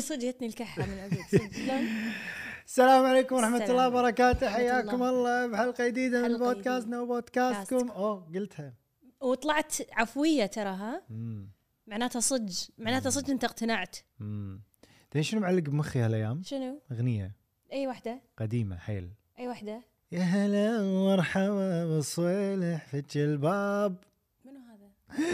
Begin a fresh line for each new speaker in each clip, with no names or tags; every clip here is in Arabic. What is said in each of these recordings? صدق جتني الكحه من عقب صدق لا.
السلام عليكم ورحمة
السلام
الله
عليكم.
وبركاته
ورحمة
حياكم
الله.
الله بحلقة جديدة من
حلقة
بودكاستنا
جديدة.
وبودكاستكم اوه قلتها
وطلعت عفويه ترى ها معناتها صدق معناتها صدق انت اقتنعت
تدري شنو معلق بمخي هالايام؟
شنو
اغنية
اي واحده
قديمة حيل
اي واحده
يا هلا ومرحبا بالصيلح فتش الباب
منو هذا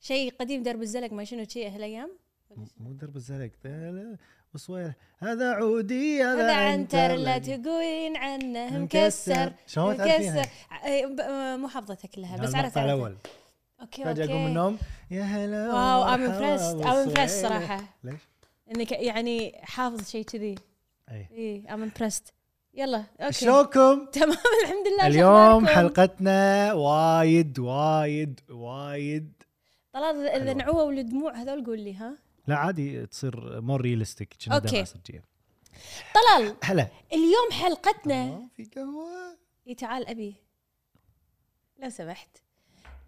شيء قديم درب الزلق ما شنو شيء هالايام
م- مو درب الزلق يا هلا وصويلح هذا عودي
هذا عنتر لا
لك.
تقولين عنه مكسر
شلون تعرفينها؟
مكسر أي، ب- آه، مو حافظتها كلها بس عرفت
المقطع
عرفت.
الاول
اوكي
فجأة اقوم من
اوكي
النوم يا هلا
واو ام
ومرحبا
امبرست ام امبرست
بالصويلح.
صراحه
ليش؟
انك يعني حافظ شيء كذي
اي
اي ام امبرست يلا اوكي
إيه. شلونكم؟
تمام الحمد لله شو
اليوم
أخباركم؟
حلقتنا وايد وايد وايد
طلال
حلوة.
اذا نعوه والدموع هذول قول لي ها
لا عادي تصير مور ريلستيك
أوكي. طلال
هلا
اليوم حلقتنا
ما في قهوه
اي تعال ابي لو سمحت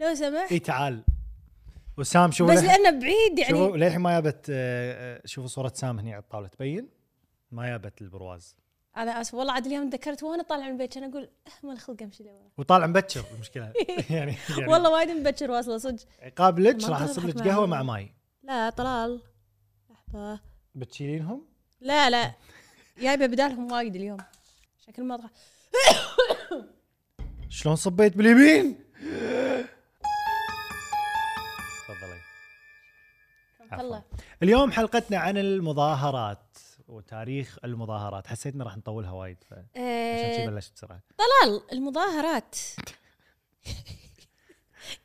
لو سمحت
اي تعال وسام شوف
بس
لح...
لانه بعيد
شوفوا
يعني
للحين ما جابت آه، آه، شوفوا صوره سام هني على الطاوله تبين ما جابت البرواز
انا اسف والله عاد اليوم تذكرت وانا طالعه من البيت كان اقول اهمل الخلق امشي لورا
وطالع مبكر المشكله يعني, يعني
والله وايد مبكر واصله صدق
عقاب لك
ما
راح
أقدر
اصب
أضحك
لك
معاهم.
قهوه مع ماي
لا طلال لحظه
بتشيلينهم؟
لا لا جايبه بدالهم وايد اليوم شكل ما أضحك.
شلون صبيت باليمين؟ تفضلي
الله
اليوم حلقتنا عن المظاهرات وتاريخ المظاهرات حسيت ان راح نطولها وايد ف...
إيه،
عشان شي بلشت بسرعه
طلال المظاهرات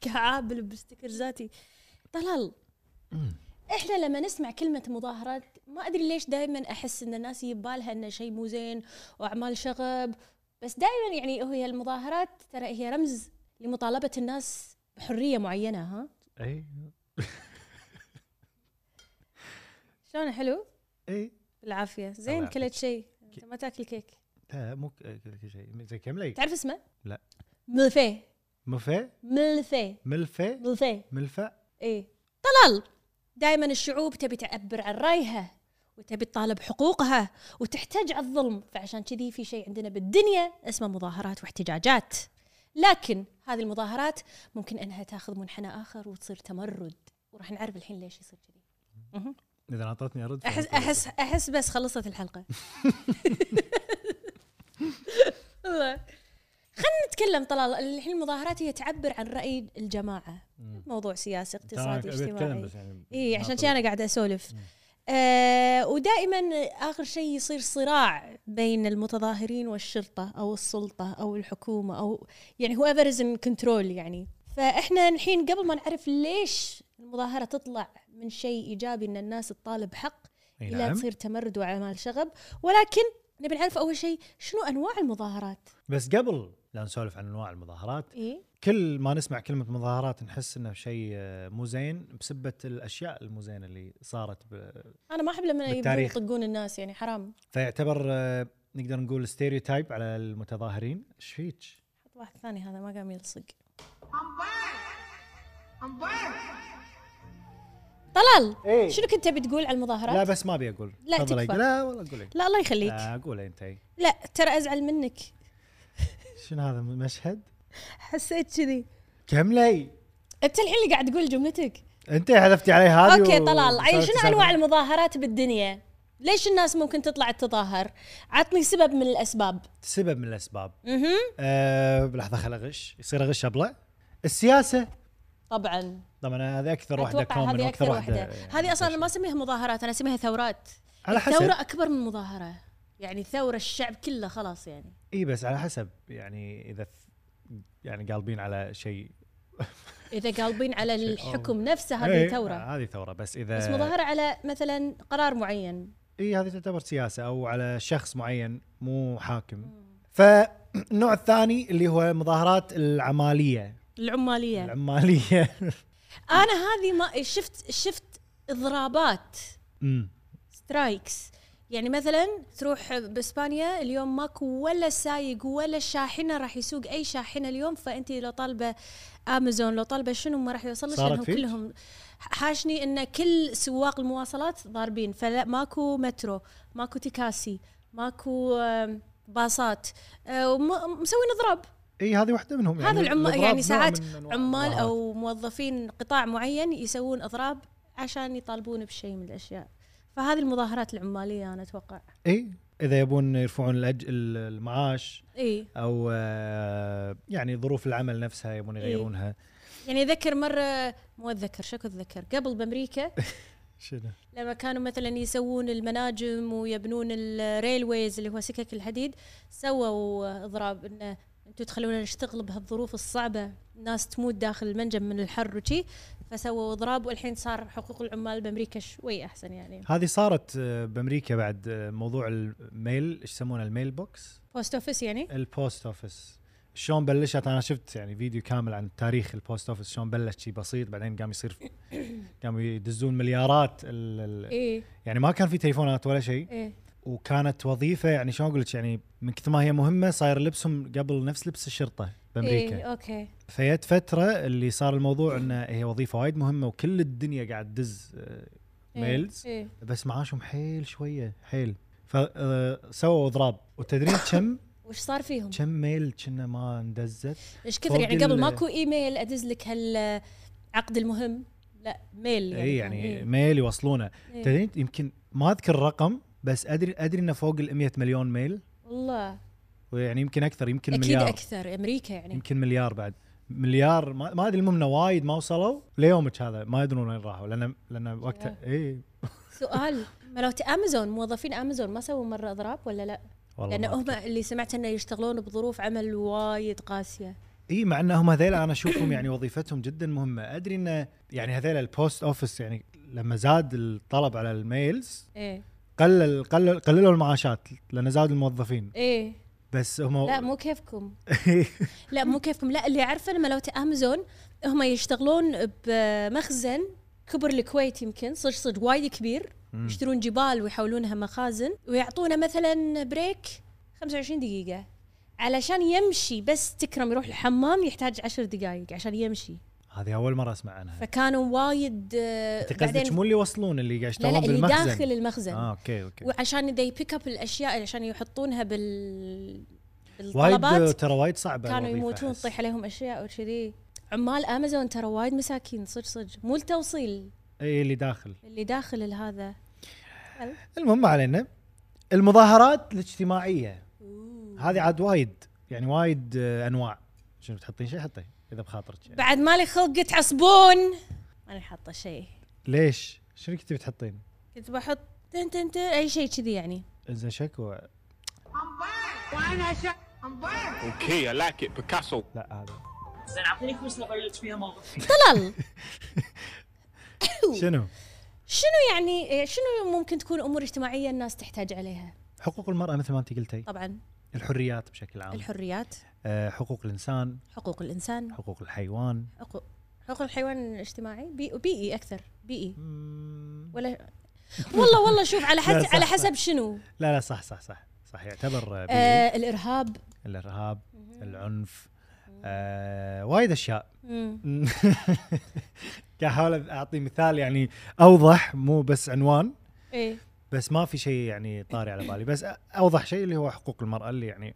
كعابل بستيكرزاتي طلال احنا لما نسمع كلمة مظاهرات ما ادري ليش دائما احس ان الناس يبالها انه شيء مو زين واعمال شغب بس دائما يعني هي المظاهرات ترى هي رمز لمطالبة الناس بحرية معينة ها إيه.
اي
شلون حلو
اي
بالعافية زين
الله
كلت شيء انت ما تاكل كيك
لا مو ك- ك- شيء زي كملي
تعرف اسمه؟
لا.
ملفي
ملفه
ملفي
ملفه
ملفي
ملفه
ايه طلال دائما الشعوب تبي تعبر عن رايها وتبي تطالب حقوقها وتحتاج على الظلم فعشان كذي في شيء عندنا بالدنيا اسمه مظاهرات واحتجاجات لكن هذه المظاهرات ممكن انها تاخذ منحنى اخر وتصير تمرد وراح نعرف الحين ليش يصير كذي مهم.
اذا اعطتني ارد
احس
فأنت-
احس احس بس خلصت الحلقه والله. خلينا نتكلم طلال الحين المظاهرات هي تعبر عن راي الجماعه
مم.
موضوع سياسي
ترى أنا
اقتصادي
أبي أتكلم
اجتماعي
بس يعني
اي إيه، عشان
ناطر.
كذا انا قاعده اسولف
مم.
آه ودائما اخر شيء يصير صراع بين المتظاهرين والشرطه او السلطه او الحكومه او يعني هو از ان كنترول يعني فاحنا الحين قبل ما نعرف ليش المظاهره تطلع من شيء ايجابي ان الناس تطالب حق
إي
الى
نعم.
تصير تمرد واعمال شغب ولكن نبي نعرف اول شيء شنو انواع المظاهرات
بس قبل لا نسولف عن انواع المظاهرات
اي
كل ما نسمع كلمة مظاهرات نحس انه شيء آه، مو زين بسبة الاشياء المو زينة اللي صارت ب...
انا ما احب لما يبدون
بالتاريخ.
يطقون الناس يعني حرام
فيعتبر آه، نقدر نقول ستيريوتايب على المتظاهرين ايش فيك؟
حط واحد ثاني هذا ما قام يلصق
I'm back. I'm back.
طلال
إيه.
شنو كنت تبي تقول على
لا
المظاهرات؟
بس ما ابي اقول
لا،
تفضلي.
تكفى.
لا والله قولي
لا الله يخليك
لا قولي انت إي.
لا ترى ازعل منك
شنو هذا مشهد؟
حسيت كذي
كملي
انت الحين اللي قاعد تقول جملتك
انت حذفتي علي هذه
اوكي
و-
طلال عيل
وسويتي
شنو
سالفة.
انواع المظاهرات بالدنيا؟ ليش الناس ممكن تطلع تظاهر؟ عطني سبب من الاسباب.
سبب من الاسباب
اها
أه لحظه خل اغش يصير اغش ابله السياسه
طبعا
طبعا هذه اكثر واحده
اتوقع
كومن
هذه
واكثر
اكثر
واحده
واحده. هذه اصلا انا
يعني
ما اسميها مظاهرات انا اسميها ثورات.
على حسب
ثوره اكبر من مظاهره. يعني ثوره الشعب كله خلاص يعني.
اي بس على حسب يعني اذا ف- يعني قالبين على شيء
اذا قالبين على
شيء.
الحكم نفسه
إيه،
هذه ثوره
هذه ثوره بس اذا
بس مظاهره على مثلا قرار معين
اي هذه تعتبر سياسه او على شخص معين مو حاكم فالنوع الثاني اللي هو مظاهرات العماليه نعم.
العماليه
العماليه
انا هذه ما شفت شفت اضرابات
أمم.
سترايكس يعني مثلا تروح باسبانيا اليوم ماكو ولا سايق ولا شاحنه راح يسوق اي شاحنه اليوم فانت لو طالبه امازون لو طالبه شنو ما راح يوصلش
صارت
لانهم
فيك؟
كلهم حاشني ان كل سواق المواصلات ضاربين فلا ماكو مترو ماكو تكاسي ماكو آم، باصات آه، وم- مسوين اضراب
اي هذه واحده منهم
هذا العمال
الإضراب
يعني
نوع
ساعات
من أنواع
عمال
المظاهرات.
او موظفين قطاع معين يسوون اضراب عشان يطالبون بشيء من الاشياء فهذه المظاهرات العماليه انا اتوقع
اي اذا يبون يرفعون الأج... ال- المعاش
اي
او آه، يعني ظروف العمل نفسها يبون
إي.
يغيرونها
يعني اذكر مره مو اتذكر شكو اتذكر قبل بامريكا
شنو
لما كانوا مثلا يسوون المناجم ويبنون الريلويز اللي هو سكك الحديد سووا اضراب انه انتم تخلونا نشتغل بهالظروف الصعبه ناس تموت داخل المنجم من الحر وشي فسووا اضراب والحين صار حقوق العمال بامريكا شوي احسن يعني
هذه صارت آه، بامريكا بعد آه، موضوع الميل ايش يسمونه الميل بوكس
بوست اوفيس يعني
البوست اوفيس شلون بلشت انا شفت يعني فيديو كامل عن تاريخ البوست اوفيس شلون بلش شيء بسيط بعدين قام يصير قاموا يدزون مليارات ال... ال...
ايه
يعني ما كان في تليفونات ولا شيء
ايه
وكانت وظيفه يعني شلون اقول لك يعني من كثر ما هي مهمه صاير لبسهم قبل نفس لبس الشرطه بامريكا
ايه اوكي
فيت فتره اللي صار الموضوع انه هي وظيفه وايد مهمه وكل الدنيا قاعد تدز آه،
إيه،
ميلز
ايه
بس معاشهم حيل شويه حيل فسووا اضراب وتدرين كم
وش صار فيهم؟
كم ميل كنا ما اندزت
ايش كثر
فوق
يعني قبل
ال-
ماكو ايميل ادز لك هالعقد المهم لا ميل يعني
اي يعني ميل يوصلونه
إيه.
تدرين يمكن ما اذكر الرقم بس ادري ادري انه فوق ال 100 مليون ميل
والله
ويعني يمكن اكثر يمكن
اكيد
مليار
اكثر امريكا يعني
يمكن مليار بعد مليار ما, ما ادري المهم انه وايد ما وصلوا ليومك هذا ما يدرون وين راحوا لان لان وقتها إيه، اي
سؤال ملوت امازون موظفين امازون ما سووا مره اضراب ولا لا؟
والله
لان هم اللي سمعت انه يشتغلون بظروف عمل وايد قاسيه
اي إيه، مع انهم هذيل انا اشوفهم يعني وظيفتهم جدا مهمه ادري انه يعني هذيل البوست اوفيس يعني لما زاد الطلب على الميلز
ايه
قلل قلل قللوا المعاشات لان زادوا الموظفين
ايه
بس هم
لا مو كيفكم لا مو كيفكم لا اللي اعرفه لما لو امازون هم يشتغلون بمخزن كبر الكويت يمكن صدق صدق وايد كبير
مم.
يشترون جبال ويحولونها مخازن ويعطونا مثلا بريك 25 دقيقة علشان يمشي بس تكرم يروح الحمام يحتاج عشر دقائق عشان يمشي
هذه اول مره اسمع عنها
فكانوا وايد آه،
انت قصدك مو اللي يوصلون اللي قاعد
لا لا
يشتغلون
اللي
بالمخزن
داخل المخزن
اه اوكي اوكي
وعشان ذي بيك اب الاشياء عشان يحطونها بال
وايد
بالطلبات
ترى وايد صعبه
كانوا
الوظيفة
يموتون
أحس.
تطيح عليهم اشياء وكذي عمال امازون ترى وايد مساكين صدق صدق مو التوصيل
اي إيه، اللي داخل
اللي داخل الهذا
المهم ما علينا المظاهرات الاجتماعيه هذه عاد وايد يعني وايد آه، انواع شنو بتحطين شيء حطي اذا بخاطرك يعني.
بعد مالي خلق تعصبون انا حاطه شيء
ليش شنو كنت بتحطين
كنت بحط تن تن تن اي شيء كذي يعني
اذا شكو
وانا شا I'm back.
Okay, I like it. Picasso.
لا هذا
زين اعطيني فلوس نبلش فيها موظف
طلال
شنو
شنو يعني شنو ممكن تكون امور اجتماعيه الناس تحتاج عليها
حقوق المراه مثل ما انت قلتي
طبعا
الحريات بشكل عام
الحريات
آه، حقوق الانسان
حقوق الانسان
حقوق الحيوان
حقوق حقوق الحيوان الاجتماعي بي- بيئي اكثر بيئي
مم،
ولا والله والله شوف على
لا،
حسب
صح،
على
صح.
حسب شنو
لا لا صح صح صح صح يعتبر آه، بيئي.
آه الارهاب
الارهاب العنف آه، وايد اشياء
مم.
قاعد احاول اعطي مثال يعني اوضح مو بس عنوان
ايه
بس ما في شيء يعني طاري على بالي بس اوضح شيء اللي هو حقوق المراه اللي يعني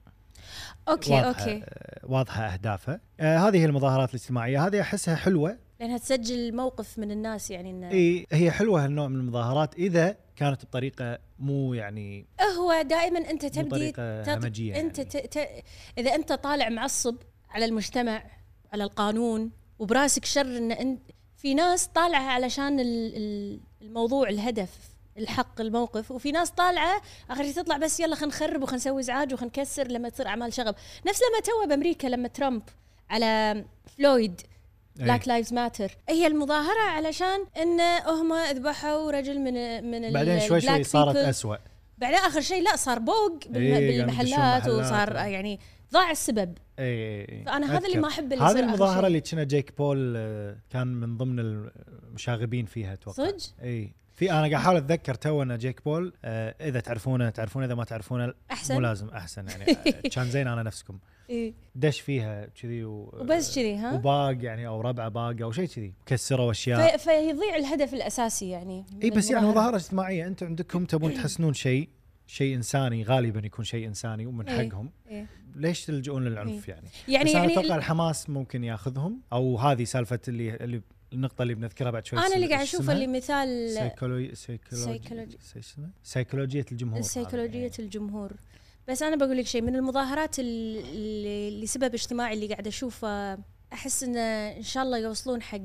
اوكي
واضحه
اوكي
آه، واضحه اهدافها آه هذه هي المظاهرات الاجتماعيه هذه احسها حلوه
لانها تسجل موقف من الناس يعني انه
اي هي حلوه هالنوع من المظاهرات اذا كانت بطريقه مو يعني
هو دائما انت تبدي
بطريقة همجية
انت
يعني.
ت... ت... اذا انت طالع معصب على المجتمع على القانون وبراسك شر ان انت في ناس طالعه علشان ال- ال- الموضوع الهدف الحق الموقف وفي ناس طالعه اخر شيء تطلع بس يلا خلينا نخرب وخلينا نسوي ازعاج وخلينا نكسر لما تصير اعمال شغب نفس لما تو بامريكا لما ترامب على فلويد
إيه.
بلاك لايفز ماتر هي المظاهره علشان ان هم ذبحوا رجل من من ال-
بعدين شوي شوي
البلاك
صارت
people.
أسوأ
بعدين اخر شيء لا صار بوق بالم-
إيه، قاموا
بالمحلات
يدشون
وصار
محلات.
يعني ضاع السبب
اي اي اي
فأنا هذا اللي
إيه، أذكر.
ما أحبه اللي
هذه
يصير آخر
المظاهره
شيء.
اللي كنا جيك بول آه، كان من ضمن المشاغبين فيها اتوقع
صدق؟
اي في انا قاعد احاول اتذكر تو ان جيك بول آه، اذا تعرفونه تعرفونه اذا ما تعرفونه مو
احسن
لازم احسن يعني آه، كان زين انا نفسكم
إيه.
دش فيها كذي و-
وبس كذي ها
وباق يعني او ربعه باق او شيء كذي كسروا اشياء
في- فيضيع الهدف الاساسي يعني
اي
من
بس يعني
المظاهرة.
مظاهره اجتماعيه انتم عندكم تبون تحسنون شيء شيء انساني غالبا يكون شيء انساني ومن
إيه.
حقهم
إيه.
ليش تلجؤون للعنف يعني
يعني
بس
يعني
انا اتوقع الحماس ممكن ياخذهم او هذه سالفه اللي, اللي النقطه اللي بنذكرها بعد شوي
انا اللي
س-
قاعد
شو
اشوفه
اسمها؟
اللي مثال
سيكولوجي
سيكولوجي.
سيكولوجي سيكولوجيه الجمهور هذا.
سيكولوجية
إيه.
الجمهور بس أنا بقول لك شيء من المظاهرات ال- اللي لسبب اجتماعي اللي قاعد أشوفه أحس إنه إن شاء الله يوصلون حق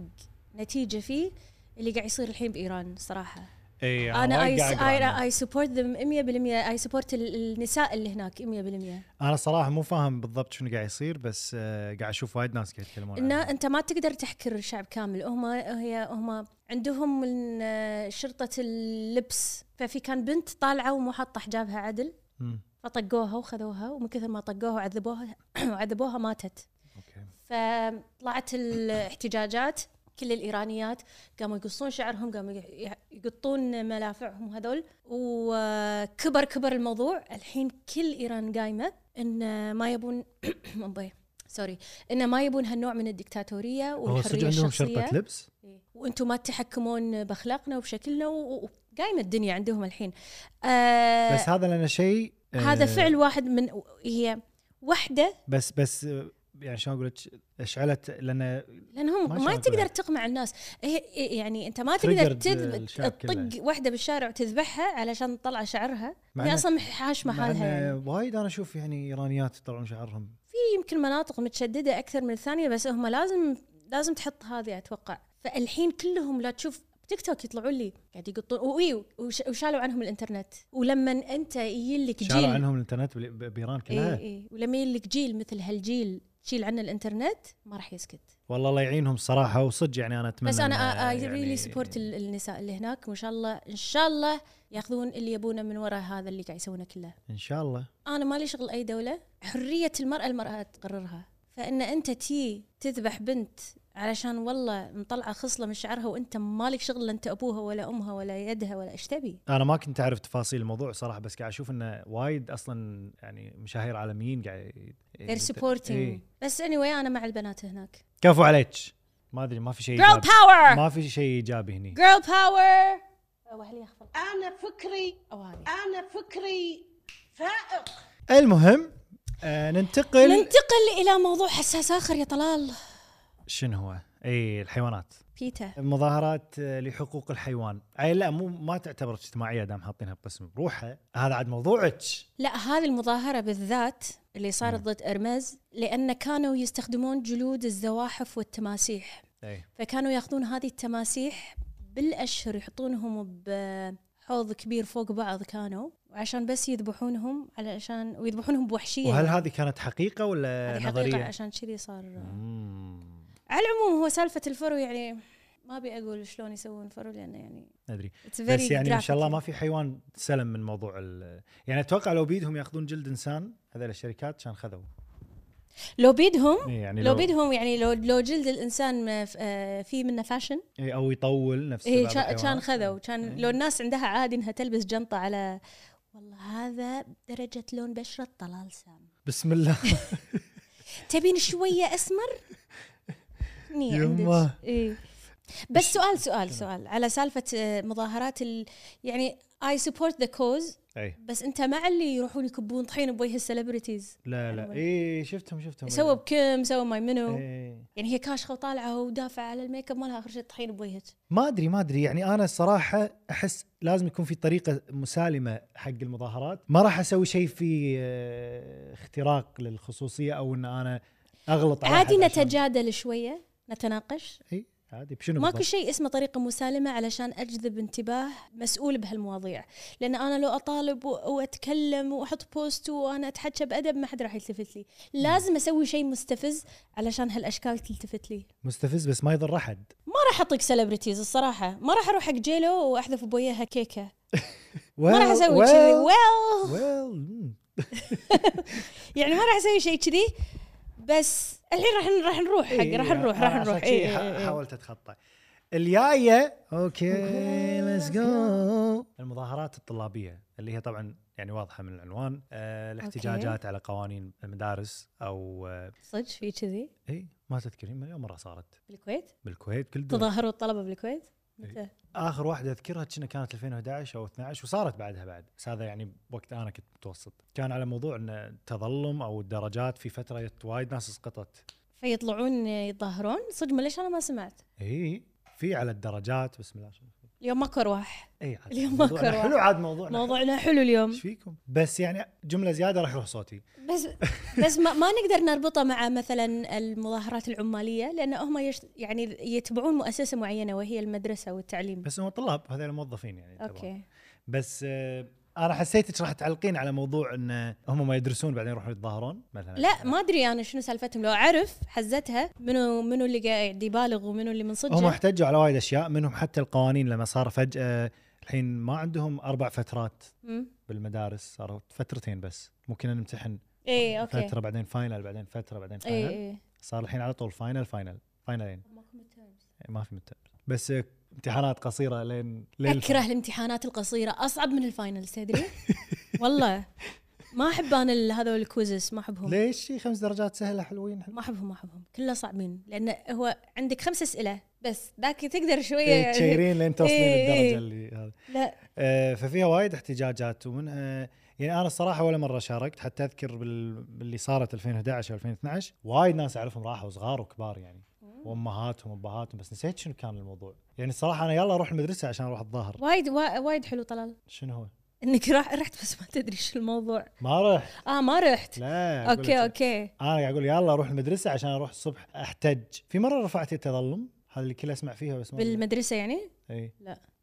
نتيجة فيه اللي قاعد يصير الحين بإيران صراحة
اي
أنا
إيه،
أي
وايد قاعد أقرأ عنه.
أنا أي سبورت ذم 100% أي سبورت النساء اللي هناك 100%
انا صراحه مو فاهم بالضبط شنو قاعد يصير بس آه، قاعد اشوف وايد ناس قاعد يتكلمون
إن
عنه.
أنت ما تقدر تحكر الشعب كامل هم هي هم عندهم من آه، شرطة اللبس ففي كان بنت طالعة ومو حاطة حجابها عدل
مم.
فطقوها وخذوها ومن كثر ما طقوها وعذبوها وعذبوها ماتت
اوكي
فطلعت الاحتجاجات كل الايرانيات قاموا يقصون شعرهم قاموا يع- يقطون ملافعهم هذول وكبر كبر الموضوع الحين كل ايران قايمه ان ما يبون مبي سوري ان ما يبون هالنوع من الدكتاتوريه
هو صدق
والحريه
عندهم شرطه
الشخصيه
لبس؟
وانتم إيه. ما تتحكمون باخلاقنا وبشكلنا و- و- وقايمه الدنيا عندهم الحين آه
بس هذا لنا شيء آه،
هذا فعل واحد من هي وحده
بس بس آه، يعني شلون اقول لك اشعلت لان ما
لانهم ما
شلون
تقدر
أقولها.
تقمع الناس هي يعني انت ما تقدر
تريجرد
تذبح
الشعب كله.
تطق واحده بالشارع وتذبحها علشان تطلع شعرها
مع
هي
إنه-
اصلا حاشمه
مع
حالها
إنه
يعني
وايد انا اشوف يعني ايرانيات يطلعون شعرهم
في يمكن مناطق متشدده اكثر من الثانيه بس هم لازم لازم تحط هذه اتوقع فالحين كلهم لا تشوف تيك توك يطلعون لي قاعد يقطون وإي، وش- وشالوا عنهم الانترنت ولما انت يجيلك جيل إيه.
شالوا عنهم الانترنت بال- ب- بايران كلها
اي اي ولما يجيلك جيل مثل هالجيل تشيل عنه الانترنت ما راح يسكت
والله الله يعينهم صراحه وصدق يعني انا اتمنى
بس آه، انا
إنه
اي ريلي
يعني-
سبورت النساء اللي هناك وان شاء الله ان شاء الله ياخذون اللي يبونه من وراء هذا اللي قاعد يسوونه كله
ان شاء الله
انا مالي شغل اي دوله حريه المراه المراه تقررها فان انت تي تذبح بنت علشان والله مطلعه خصله من شعرها وانت مالك شغل لا انت ابوها ولا امها ولا يدها ولا ايش تبي
انا ما كنت اعرف تفاصيل الموضوع صراحه بس قاعد اشوف انه وايد اصلا يعني مشاهير عالميين قاعد إيه.
they're supporting بس anyway انا مع البنات هناك
كفو عليك ما ادري ما في شيء
girl
إيجابي.
power
إيه، ما في شيء ايجابي هني
girl power او اهلي اخفر
أنا فكري
او هذه
أنا فكري فائق
المهم آه ننتقل
ننتقل الى موضوع حساس اخر يا طلال
شنو هو؟ اي الحيوانات
بيتا
مظاهرات آه، لحقوق الحيوان اي لا مو ما تعتبر اجتماعيه دام حاطينها بقسم روحها هذا عاد موضوعك
لا هذه المظاهرة بالذات اللي
نعم.
صارت ضد إرمز لأن كانوا يستخدمون جلود الزواحف والتماسيح
اي
فكانوا ياخذون هذه التماسيح بالأشهر يحطونهم بحوض كبير فوق بعض كانوا وعشان بس يذبحونهم علشان ويذبحونهم بوحشية
وهل
يعني.
هذه كانت حقيقه ولا
هذه حقيقة
نظريه؟
عشان كذي صار
نعم. مم،
على العموم هو سالفة الفرو يعني ما أبي أقول شلون يسوون فرو لأنه يعني
ادري
it's very
بس يعني ان شاء الله
graphic.
ما في حيوان سلم من موضوع ال- يعني اتوقع لو بيدهم ياخذون جلد انسان هذول الشركات كان خذوا
لو بيدهم
إي يعني
لو بيدهم يعني لو لو جلد الانسان ما ف- آه، في منه فاشن
إي او إيه، يطول نفس
اي
بعض
إيه، كان-
الحيوانات.
كان خذوا كان لو الناس عندها عادي انها تلبس جنطه على والله هذا درجة لون بشرة طلال سام
بسم الله
تبين شوية أسمر؟ ني عندك
يمه.
إيه. بس سؤال سؤال سؤال على سالفة آه، مظاهرات ال... يعني I support the cause
اي
بس أنت مع اللي يروحون يكبون طحين بوجه السليبرتيز
لا لا اي شفتهم شفتهم إيه.
سووا بكم سووا ماي منو
إي.
يعني هي كاشخة وطالعة ودافعة على الميك اب مالها آخر شيء طحين بوجهك
ما ادري ما ادري يعني انا الصراحه احس لازم يكون في طريقه مسالمه حق المظاهرات ما راح اسوي شيء في آه، اختراق للخصوصيه او ان انا اغلط على
عادي
أحد عشان-
نتجادل شوية نتناقش
إي. عادي بشنو
ماكو
بالضبط؟
شيء اسمه طريقة مسالمة علشان أجذب انتباه مسؤول بهالمواضيع لأن أنا لو أطالب و- وأتكلم وأحط بوست وأنا أتحكى بأدب ما حد راح يلتفت لي لازم أسوي شيء مستفز علشان هالأشكال تلتفت لي
مستفز بس ما يضر احد
ما راح أطق سيلبرتيز الصراحة ما راح أروح حق جيلو وأحذف بوياها كيكة ما راح أسوي كذي ويل
ويل
يعني ما راح أسوي شيء كذي بس الحين راح راح نروح حق
إيه،
راح
آه،
نروح راح نروح إيه، إي إي إي.
حاولت اتخطى الجايه اوكي ليتس جو المظاهرات الطلابيه اللي هي طبعا يعني واضحه من العنوان آه الاحتجاجات على قوانين المدارس او آه،
صدق في كذي
اي ما تذكرين مليون مره صارت
بالكويت
إيه. بالكويت كل دول
تظاهروا الطلبة بالكويت متى؟
اخر واحده اذكرها كنا كانت 2011 او 12 وصارت بعدها بعد بس هذا يعني وقت انا كنت متوسط كان على موضوع ان التظلم او الدرجات في فتره وايد ناس سقطت
فيطلعون يتظاهرون صدق ما ليش انا ما سمعت
اي في على الدرجات بسم الله الرحمن الرحيم.
اليوم ماكو ارواح
اي عاد
اليوم
موضوعنا
ماكو رواح.
حلو عاد موضوعنا موضوع
موضوعنا حلو اليوم
ايش فيكم بس يعني جمله زياده راح يروح صوتي
بس بس ما, ما نقدر نربطه مع مثلا المظاهرات العماليه لان هم يش يعني يتبعون مؤسسه معينه وهي المدرسه والتعليم
بس هم طلاب هذول موظفين يعني طبعاً.
اوكي
بس آه، انا حسيتك راح تعلقين على موضوع ان هم ما يدرسون بعدين يروحون يتظاهرون مثلا
لا ما ادري انا شنو سالفتهم لو اعرف حزتها منو منو اللي قاعد يبالغ ومنو اللي من
هم
صدق
احتجوا على وايد اشياء منهم حتى القوانين لما صار فجاه الحين ما عندهم اربع فترات بالمدارس صاروا فترتين بس ممكن نمتحن
اي اوكي
فتره بعدين فاينل بعدين فتره بعدين
اي
فاينل
اي
صار الحين على طول فاينل فاينل فاينلين يعني ما في متى بس آه، امتحانات قصيره لين لين
اكره الامتحانات القصيره اصعب من الفاينلز تدري والله ما احب انا ال- هذول الكوزس ما احبهم
ليش خمس درجات سهله حلوين حلو.
ما احبهم ما احبهم كله صعبين لان هو عندك خمس اسئله بس ذاك تقدر شويه
إيه،
يعني
تشيرين لين توصلين
إيه، إيه.
الدرجه اللي هذا
لا
آه، ففيها وايد احتجاجات ومنها يعني انا الصراحه ولا مره شاركت حتى اذكر بال- باللي صارت 2011 او 2012 وايد ناس اعرفهم راحوا صغار وكبار يعني وامهاتهم وابهاتهم بس نسيت شنو كان الموضوع يعني الصراحه انا يلا اروح المدرسه عشان اروح اتظاهر
وايد وا- وايد حلو طلال
شنو هو
انك راح رحت بس ما تدري شو الموضوع
ما رحت
اه ما رحت
لا أقول لك-
اوكي اوكي
انا قاعد اقول يلا اروح المدرسه عشان اروح الصبح احتج في مره رفعت التظلم هذا اللي كله اسمع فيها بس ما
بالمدرسه يعني
اي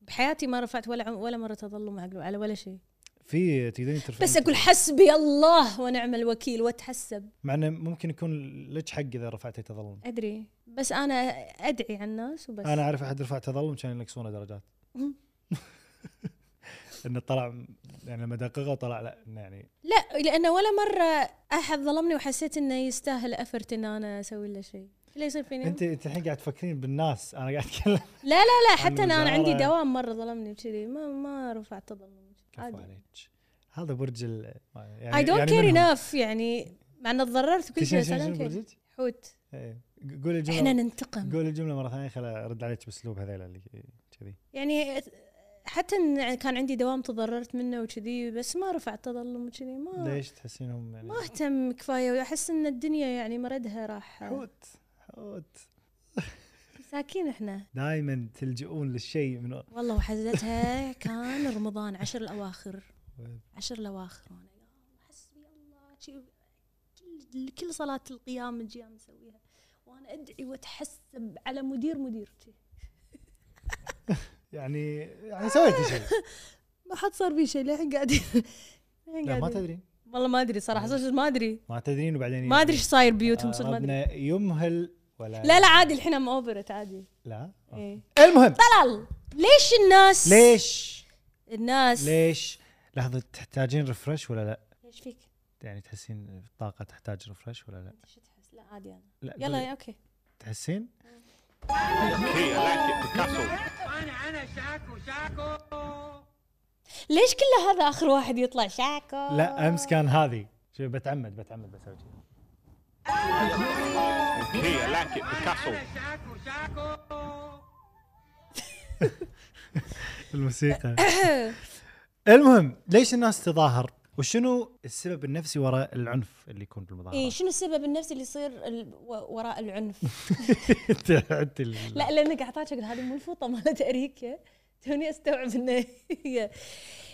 بحياتي ما رفعت ولا عم- ولا مره تظلم على- على ولا شيء
في تقدرين ترفعين
بس اقول حسبي الله ونعم الوكيل واتحسب
مع انه ممكن يكون لك حق اذا رفعتي تظلم
ادري بس انا ادعي على الناس وبس
انا اعرف احد رفع تظلم كان ينقصونه درجات انه طلع يعني لما دققه طلع لا إنه يعني
لا لانه ولا مره احد ظلمني وحسيت انه يستاهل افرت ان انا اسوي له شيء ليش يصير فيني
انت انت الحين قاعد تفكرين بالناس انا قاعد اتكلم
لا لا لا حتى انا انا
المزارع.
عندي دوام مره ظلمني وكذي ما ما رفعت تظلم
كفو
عادي
عليك هذا برج ال يعني
اي دونت كير
منهم.
انف يعني مع ان تضررت وكل
تشين-
شيء
شين-
بس I
شين
don't care.
برجك؟
حوت
إيه. قول الجمله
احنا ننتقم
قول الجمله مره ثانيه خل ارد عليك باسلوب هذيلا اللي كذي
يعني حتى إن كان عندي دوام تضررت منه وكذي بس ما رفعت تظلم وكذي ما
ليش تحسينهم يعني
آه. ما اهتم كفايه واحس ان الدنيا يعني مردها راح
حوت حوت
مساكين احنا
دائما تلجؤون للشيء من
والله وحزتها كان رمضان عشر الاواخر
وين؟
عشر الاواخر وانا يا الله حسبي الله شي- كل كل صلاه القيام نجي أنا مسويها وانا ادعي واتحسب على مدير مدير شي.
يعني يعني سويتي شيء
ما حد صار بي شيء للحين قاعدين للحين
لا ما
قاعدين.
تدرين
والله ما ادري صراحه صدق ما ادري
ما تدرين وبعدين يعني، آه،
ما ادري ايش صاير بيوتهم صدق ما ادري
ربنا يمهل ولا
لا لا عادي الحين ام اوفرت عادي
لا آه.
إيه.
المهم
طلال ليش الناس
ليش
الناس
ليش لحظه تحتاجين ريفرش ولا لا
ليش فيك؟
يعني تحسين الطاقه تحتاج ريفرش ولا لا
انت شو تحس؟ لا عادي انا
لا
يلا
قولي.
يا اوكي
تحسين
ليش كله هذا اخر واحد يطلع شاكو
لا امس كان هذه شوف بتعمد بتعمد بسوي شيء الموسيقى المهم ليش الناس تظاهر وشنو السبب النفسي وراء العنف اللي يكون
اي
بالمظاهرات
إيه، شنو السبب النفسي اللي يصير ال- و- وراء العنف؟
انت عدت ال-
لا لانك اعطاك شكل هذه مو الفوطه مالت اريكيا توني استوعب انه هي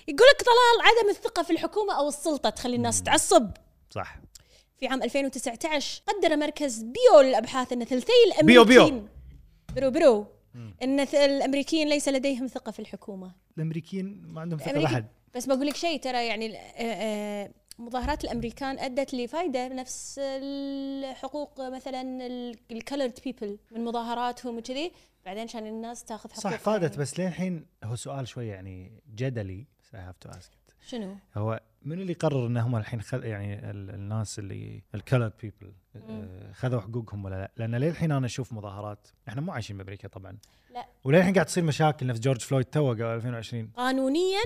يقول لك طلال عدم الثقه في الحكومه او السلطه تخلي الناس تعصب
صح
في عام 2019 قدر مركز بيو للابحاث ان ثلثي الامريكيين
بيو بيو.
برو برو ان ث- الامريكيين ليس لديهم ثقه في الحكومه
الامريكيين ما عندهم ثقه
الأمريكي-
لاحد
بس بقول لك شيء ترى يعني ال- آه، آه، مظاهرات الامريكان ادت لفائده نفس الحقوق مثلا الكلرد بيبل من مظاهراتهم وكذي بعدين عشان الناس تاخذ حقوق
صح فادت بس لين الحين هو سؤال شوي يعني جدلي بس اي هاف تو اسك
شنو؟
هو من اللي قرر ان هم الحين خل... يعني ال- الناس اللي الكلرد بيبل خذوا حقوقهم ولا لا؟ لان للحين انا اشوف مظاهرات احنا مو عايشين بامريكا طبعا
لا.
وللحين قاعد تصير مشاكل نفس جورج فلويد تو قبل 2020
قانونيا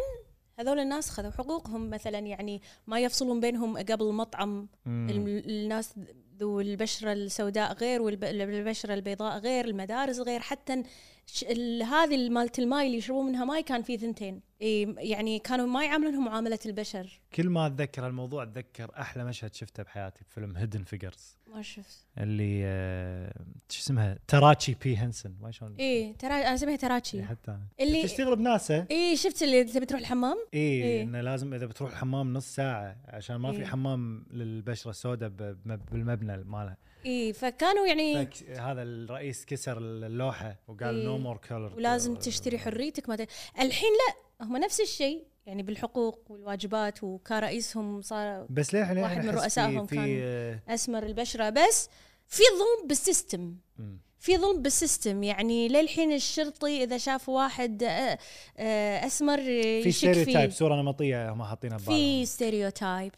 هذول الناس خذوا حقوقهم مثلا يعني ما يفصلون بينهم قبل مطعم
مم.
الم- الناس ذو البشره السوداء غير والبشره البيضاء غير المدارس غير حتى ش- ال- هذه المالت الماي اللي يشربون منها ماي كان في ثنتين إي، يعني كانوا ما يعاملونهم معامله البشر
كل ما اتذكر الموضوع اتذكر احلى مشهد شفته بحياتي بفيلم هيدن فيجرز
ما شفت
اللي آه، شو اسمها تراتشي بي هنسن ما شلون إيه،
اي ترى انا اسميها تراتشي
يعني حتى أنا.
إيه. اللي-
تشتغل بناسا
اي شفت اللي تبي تروح الحمام
اي
إيه.
انه لازم اذا بتروح الحمام نص ساعه عشان ما في
إيه.
حمام للبشره السوداء ب- بم- بالمبنى مالها
اي فكانوا يعني
فك- هذا الرئيس كسر اللوحه وقال
إيه.
نو مور كلر
ولازم تشتري حريتك ما ت- الحين لا هم نفس الشيء يعني بالحقوق والواجبات وكان رئيسهم صار
بس ليه احنا
واحد من
أحس في-
رؤسائهم
في
كان.
آه،
اسمر البشره بس في ظلم بالسيستم
مم.
في ظلم بالسيستم يعني للحين الشرطي اذا شاف واحد آه، آه، اسمر
في
يشك
ستيريوتايب
فيه
صوره نمطيه هم حاطينها ببالهم
في ستيريوتايب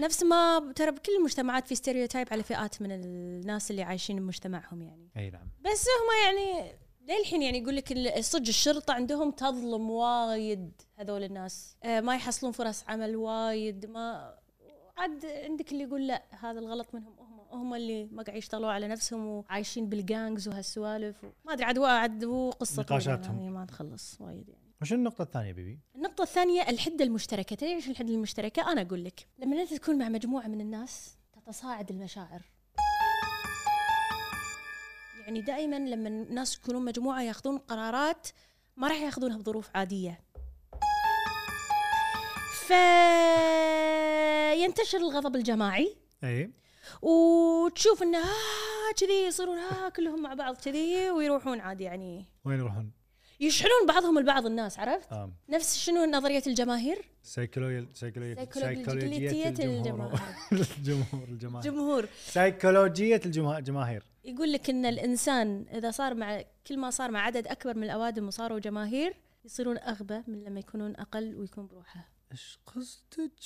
نفس ما ترى بكل المجتمعات في ستيريوتايب على فئات من الناس اللي عايشين بمجتمعهم يعني
اي نعم
بس هم يعني للحين يعني يقول لك ال- صدق الشرطه عندهم تظلم وايد هذول الناس آه، ما يحصلون فرص عمل وايد ما عاد عندك اللي يقول لا هذا الغلط منهم هم هم اللي ما قاعد يشتغلوا على نفسهم وعايشين بالجانجز وهالسوالف و- ما ادري عاد وا- عاد هو قصه طويلة
نقاشاتهم.
يعني ما تخلص وايد يعني
وش النقطه الثانيه بيبي؟
النقطة الثانية الحدة المشتركة، تدري ايش الحدة المشتركة؟ أنا أقول لك، لما أنت تكون مع مجموعة من الناس تتصاعد المشاعر. يعني دائما لما الناس يكونون مجموعة ياخذون قرارات ما راح ياخذونها بظروف عادية. فينتشر الغضب الجماعي
اي
وتشوف انه آه كذي يصيرون آه كلهم مع بعض كذي ويروحون عادي يعني
وين يروحون؟
يشحنون بعضهم البعض الناس عرفت؟
آم.
نفس شنو نظرية الجماهير؟
سيكولوجيا سيكولوجيا
سيكولوجية
الجمهور الجمهور الجماهير
جمهور
سيكولوجيه الجمه- الجماهير
يقول لك ان الانسان اذا صار مع كل ما صار مع عدد اكبر من الاوادم وصاروا جماهير يصيرون اغبى من لما يكونون اقل ويكون بروحه
ايش قصدك؟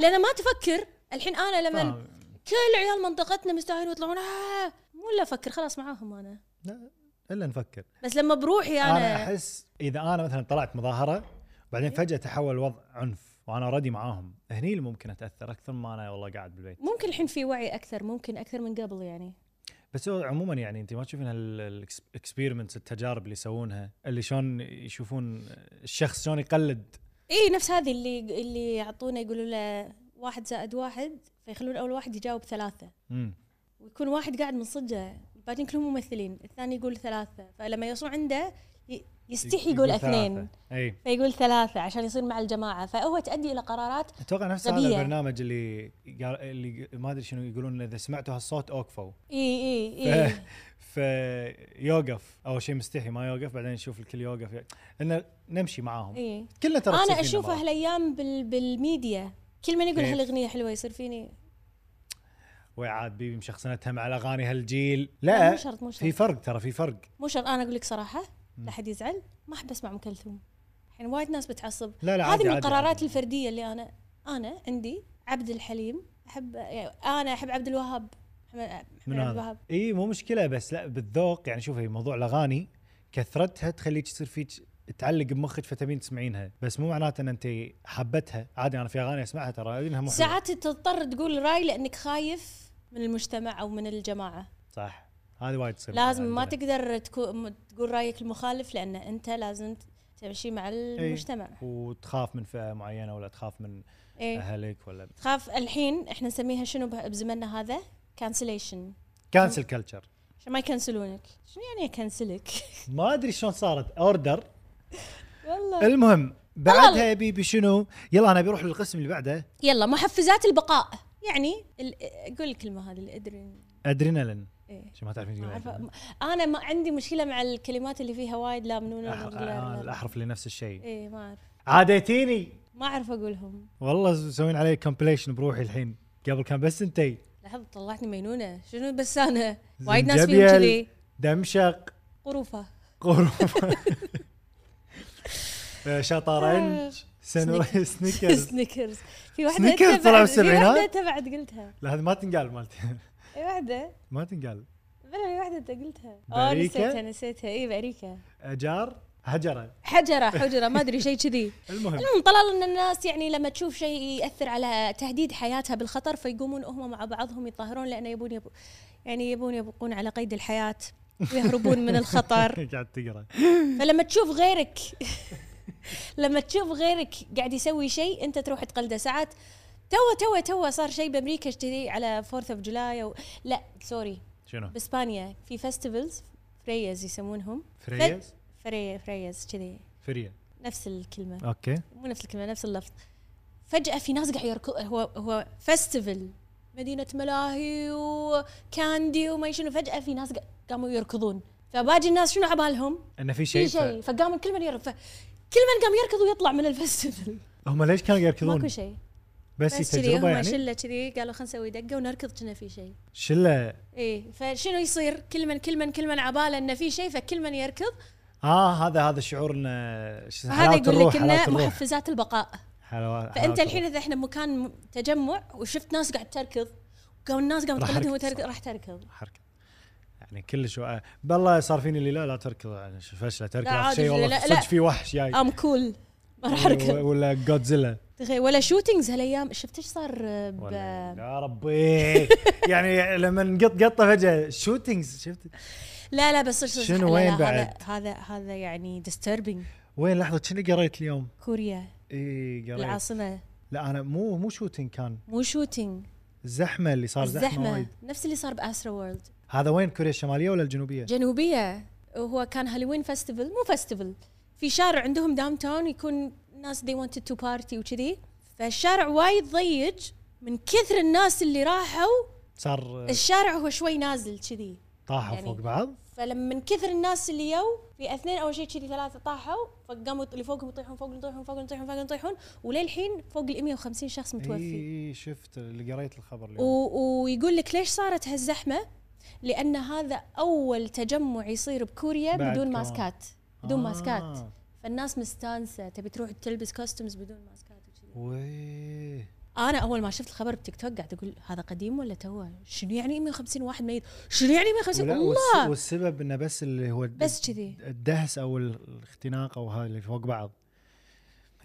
لان ما تفكر الحين انا لما
فاهم.
كل عيال منطقتنا مستاهلين يطلعون آه مو الا افكر خلاص معاهم انا
لا الا نفكر
بس لما بروحي
انا,
انا
احس اذا انا مثلا طلعت مظاهره بعدين فجاه تحول الوضع عنف وانا اوريدي معاهم هني اللي ممكن اتاثر اكثر ما انا والله قاعد بالبيت
ممكن الحين في وعي اكثر ممكن اكثر من قبل يعني
بس هو عموما يعني انت ما تشوفين الاكسبيرمنتس التجارب اللي يسوونها اللي شلون يشوفون الشخص شلون يقلد
اي نفس هذه اللي اللي يعطونا يقولوا له واحد زائد واحد فيخلون اول واحد يجاوب ثلاثه
امم
ويكون واحد قاعد من صجه الباقيين كلهم ممثلين الثاني يقول ثلاثة فلما يوصلون عنده ي- يستحي يقول اثنين
ثلاثة. إيه. اي
فيقول ثلاثة عشان يصير مع الجماعة فهو تؤدي إلى قرارات
اتوقع نفس هذا
غبية.
البرنامج اللي قال- اللي ما ادري شنو يقولون اذا سمعتوا هالصوت اوقفوا
اي اي اي
فيوقف اول شيء مستحي ما يوقف بعدين نشوف الكل يوقف انه نمشي معاهم
اي
كلنا ترى تصير
إيه. أنا
فينا
أشوف
مرات.
هالأيام بال بالميديا كل من يقول
كيف؟
هالأغنية حلوة يصير فيني
وعاد بيبي مشخصنتها مع الاغاني هالجيل
لا،
لا
مو شرط، مو شرط.
في فرق ترى في فرق
مو شرط أنا أقول لك صراحة لا حد يزعل ما أحب أسمع أم كلثوم الحين وايد ناس بتعصب
لا، لا،
هذه
عادي،
من
عادي،
القرارات
عادي.
الفردية اللي أنا أنا عندي عبد الحليم أحب يعني أنا أحب عبد الوهاب محمد محمد
من
عبد
هذا
الوهاب
اي مو مشكله بس لا بالذوق يعني شوفي موضوع الاغاني كثرتها تخليك تصير فيك تعلق بمخك فتبين تسمعينها بس مو معناته ان انت حبتها عادي انا في اغاني اسمعها ترى أدري انها مو حلوة.
ساعات تضطر تقول راي لانك خايف من المجتمع او من الجماعه
صح هذه وايد تصير
لازم ما
عندنا.
تقدر تكو- م- تقول رايك المخالف لان انت لازم تمشي مع
إيه.
المجتمع
وتخاف من فئه معينه ولا تخاف من
ايه
اهلك ولا
تخاف الحين احنا نسميها شنو به- بزمننا هذا كانسليشن
كانسل كلتشر
عشان ما يكنسلونك شنو يعني اكنسلك
ما ادري شلون صارت اوردر
والله
المهم بعدها يا بيبي شنو يلا انا بروح للقسم اللي بعده
يلا محفزات البقاء يعني ال- قول الكلمه هذه اللي ادري
ادرينالين
إيه.
عشان ما تعرفين
ما أعرف-
تقولين
انا ما عندي مشكله مع الكلمات اللي فيها وايد لا منون
أح- آه، الاحرف اللي نفس الشيء
اي ما اعرف
عاديتيني
ما اعرف اقولهم
والله مسوين علي كومبليشن بروحي الحين قبل كان بس انتي
لحظه طلعتني مينونه شنو بس انا وايد ناس فيهم
زنجبيل،
كذي
دمشق
قروفه
قرفة آه، شطرنج سنوري سنيكرز
سنيكرز في واحده
سنيكرز
تبعد-
طلع
في واحده
بالسبعينات؟
تبعد قلتها
لا هذه ما تنقال مالتي
اي واحده
ما تنقال
بلا في واحده انت قلتها اه
باريكا؟
نسيتها نسيتها إيه، اي باريكا
اجار هجره
حجره حجره ما ادري شيء كذي المهم
المهم
نعم، طلال ان الناس يعني لما تشوف شيء ياثر على تهديد حياتها بالخطر فيقومون هم مع بعضهم يتظاهرون لانه يبون يبو يعني يبون يبقون على قيد الحياه ويهربون من الخطر
قاعد تقرا
فلما تشوف غيرك لما تشوف غيرك قاعد يسوي شيء انت تروح تقلده ساعات تو تو تو صار شيء بامريكا كذي على 4 اوف جولاي او لا سوري
شنو
باسبانيا في فيستيفالز فريز يسمونهم
فريز
فري فريز كذي
فريا
نفس الكلمه
اوكي
مو نفس الكلمه نفس اللفظ فجاه في ناس قاعد يركض هو هو فيستيفال مدينه ملاهي وكاندي وما شنو فجاه في ناس قا- قاموا يركضون فباقي الناس شنو عبالهم؟
انه في شيء
في شيء فقام الكل من يركض كل من قام يركض ويطلع من الفستيفال
هم ليش كانوا يركضون
ماكو شيء
بس هي
بس كذي
تجربه
هم
يعني
شله كذي قالوا خلينا نسوي دقه ونركض كنا في شيء
شله
ايه فشنو يصير؟ كل من كل من كل من عباله انه في شيء فكل من يركض
اه هذا هذا الشعور انه ش-
فهذا
حلاوه
يقول
الروح
لك
حلاوه
انه
الروح
محفزات البقاء
حلاوه
فانت
حلاوة
الحين اذا احنا بمكان م- تجمع وشفت ناس قاعد تركض قام الناس قامت
راح
تقلدهم
أركض
وتركض
صح.
راح تركض
حركه يعني كل شو بالله صار فيني اللي لا لا تركض يعني شو فشله تركض
لا
على
عادي،
شيء والله
لا،
صدق
لا. آه،
في وحش جاي
ام كول ما
أيوة.
راح اركض
ولا جودزيلا
تخيل ولا شوتينجز هالايام شفت ايش صار ب
ولا يا ربي يعني لما نقط قطه فجاه شوتينجز شفت
لا لا بس صح- صح-
شنو
لا، لا،
وين
هذا-
بعد؟
هذا هذا يعني disturbing
وين لحظه شنو قريت اليوم؟
كوريا
اي قريت
العاصمه
لا انا مو مو شوتينج كان
مو شوتينج
الزحمه اللي صار زحمه, زحمة
الزحمه
وايد
نفس اللي صار باسترا وورلد
هذا وين كوريا الشماليه ولا الجنوبيه؟
جنوبيه وهو كان هالوين فيستيفال مو فيستيفال في شارع عندهم داون تاون يكون ناس they wanted to party وكذي فالشارع وايد ضيق من كثر الناس اللي راحوا
صار
الشارع هو شوي نازل كذي
طاحوا
يعني-
فوق بعض
فلما من كثر الناس اللي يو في اثنين اول شيء كذي ثلاثه طاحوا فقاموا اللي فوقهم يطيحون فوق يطيحون فوق يطيحون فوق يطيحون وللحين فوق ال 150 شخص متوفي
اي شفت اللي قريت الخبر اليوم
و- ويقول لك ليش صارت هالزحمه؟ لان هذا اول تجمع يصير بكوريا
بعد
بدون
كورونا.
ماسكات بدون
آه.
ماسكات فالناس مستانسه تبي تروح تلبس كوستمز بدون ماسكات وشذي.
ويه.
انا اول ما شفت الخبر بتيك توك قاعد اقول هذا قديم ولا توه؟ شنو يعني 150 واحد ميت؟ شنو يعني 150
ولا- والس-
الله
والسبب انه بس اللي هو الد-
بس كذي
الدهس او ال- الاختناق او هذا اللي فوق بعض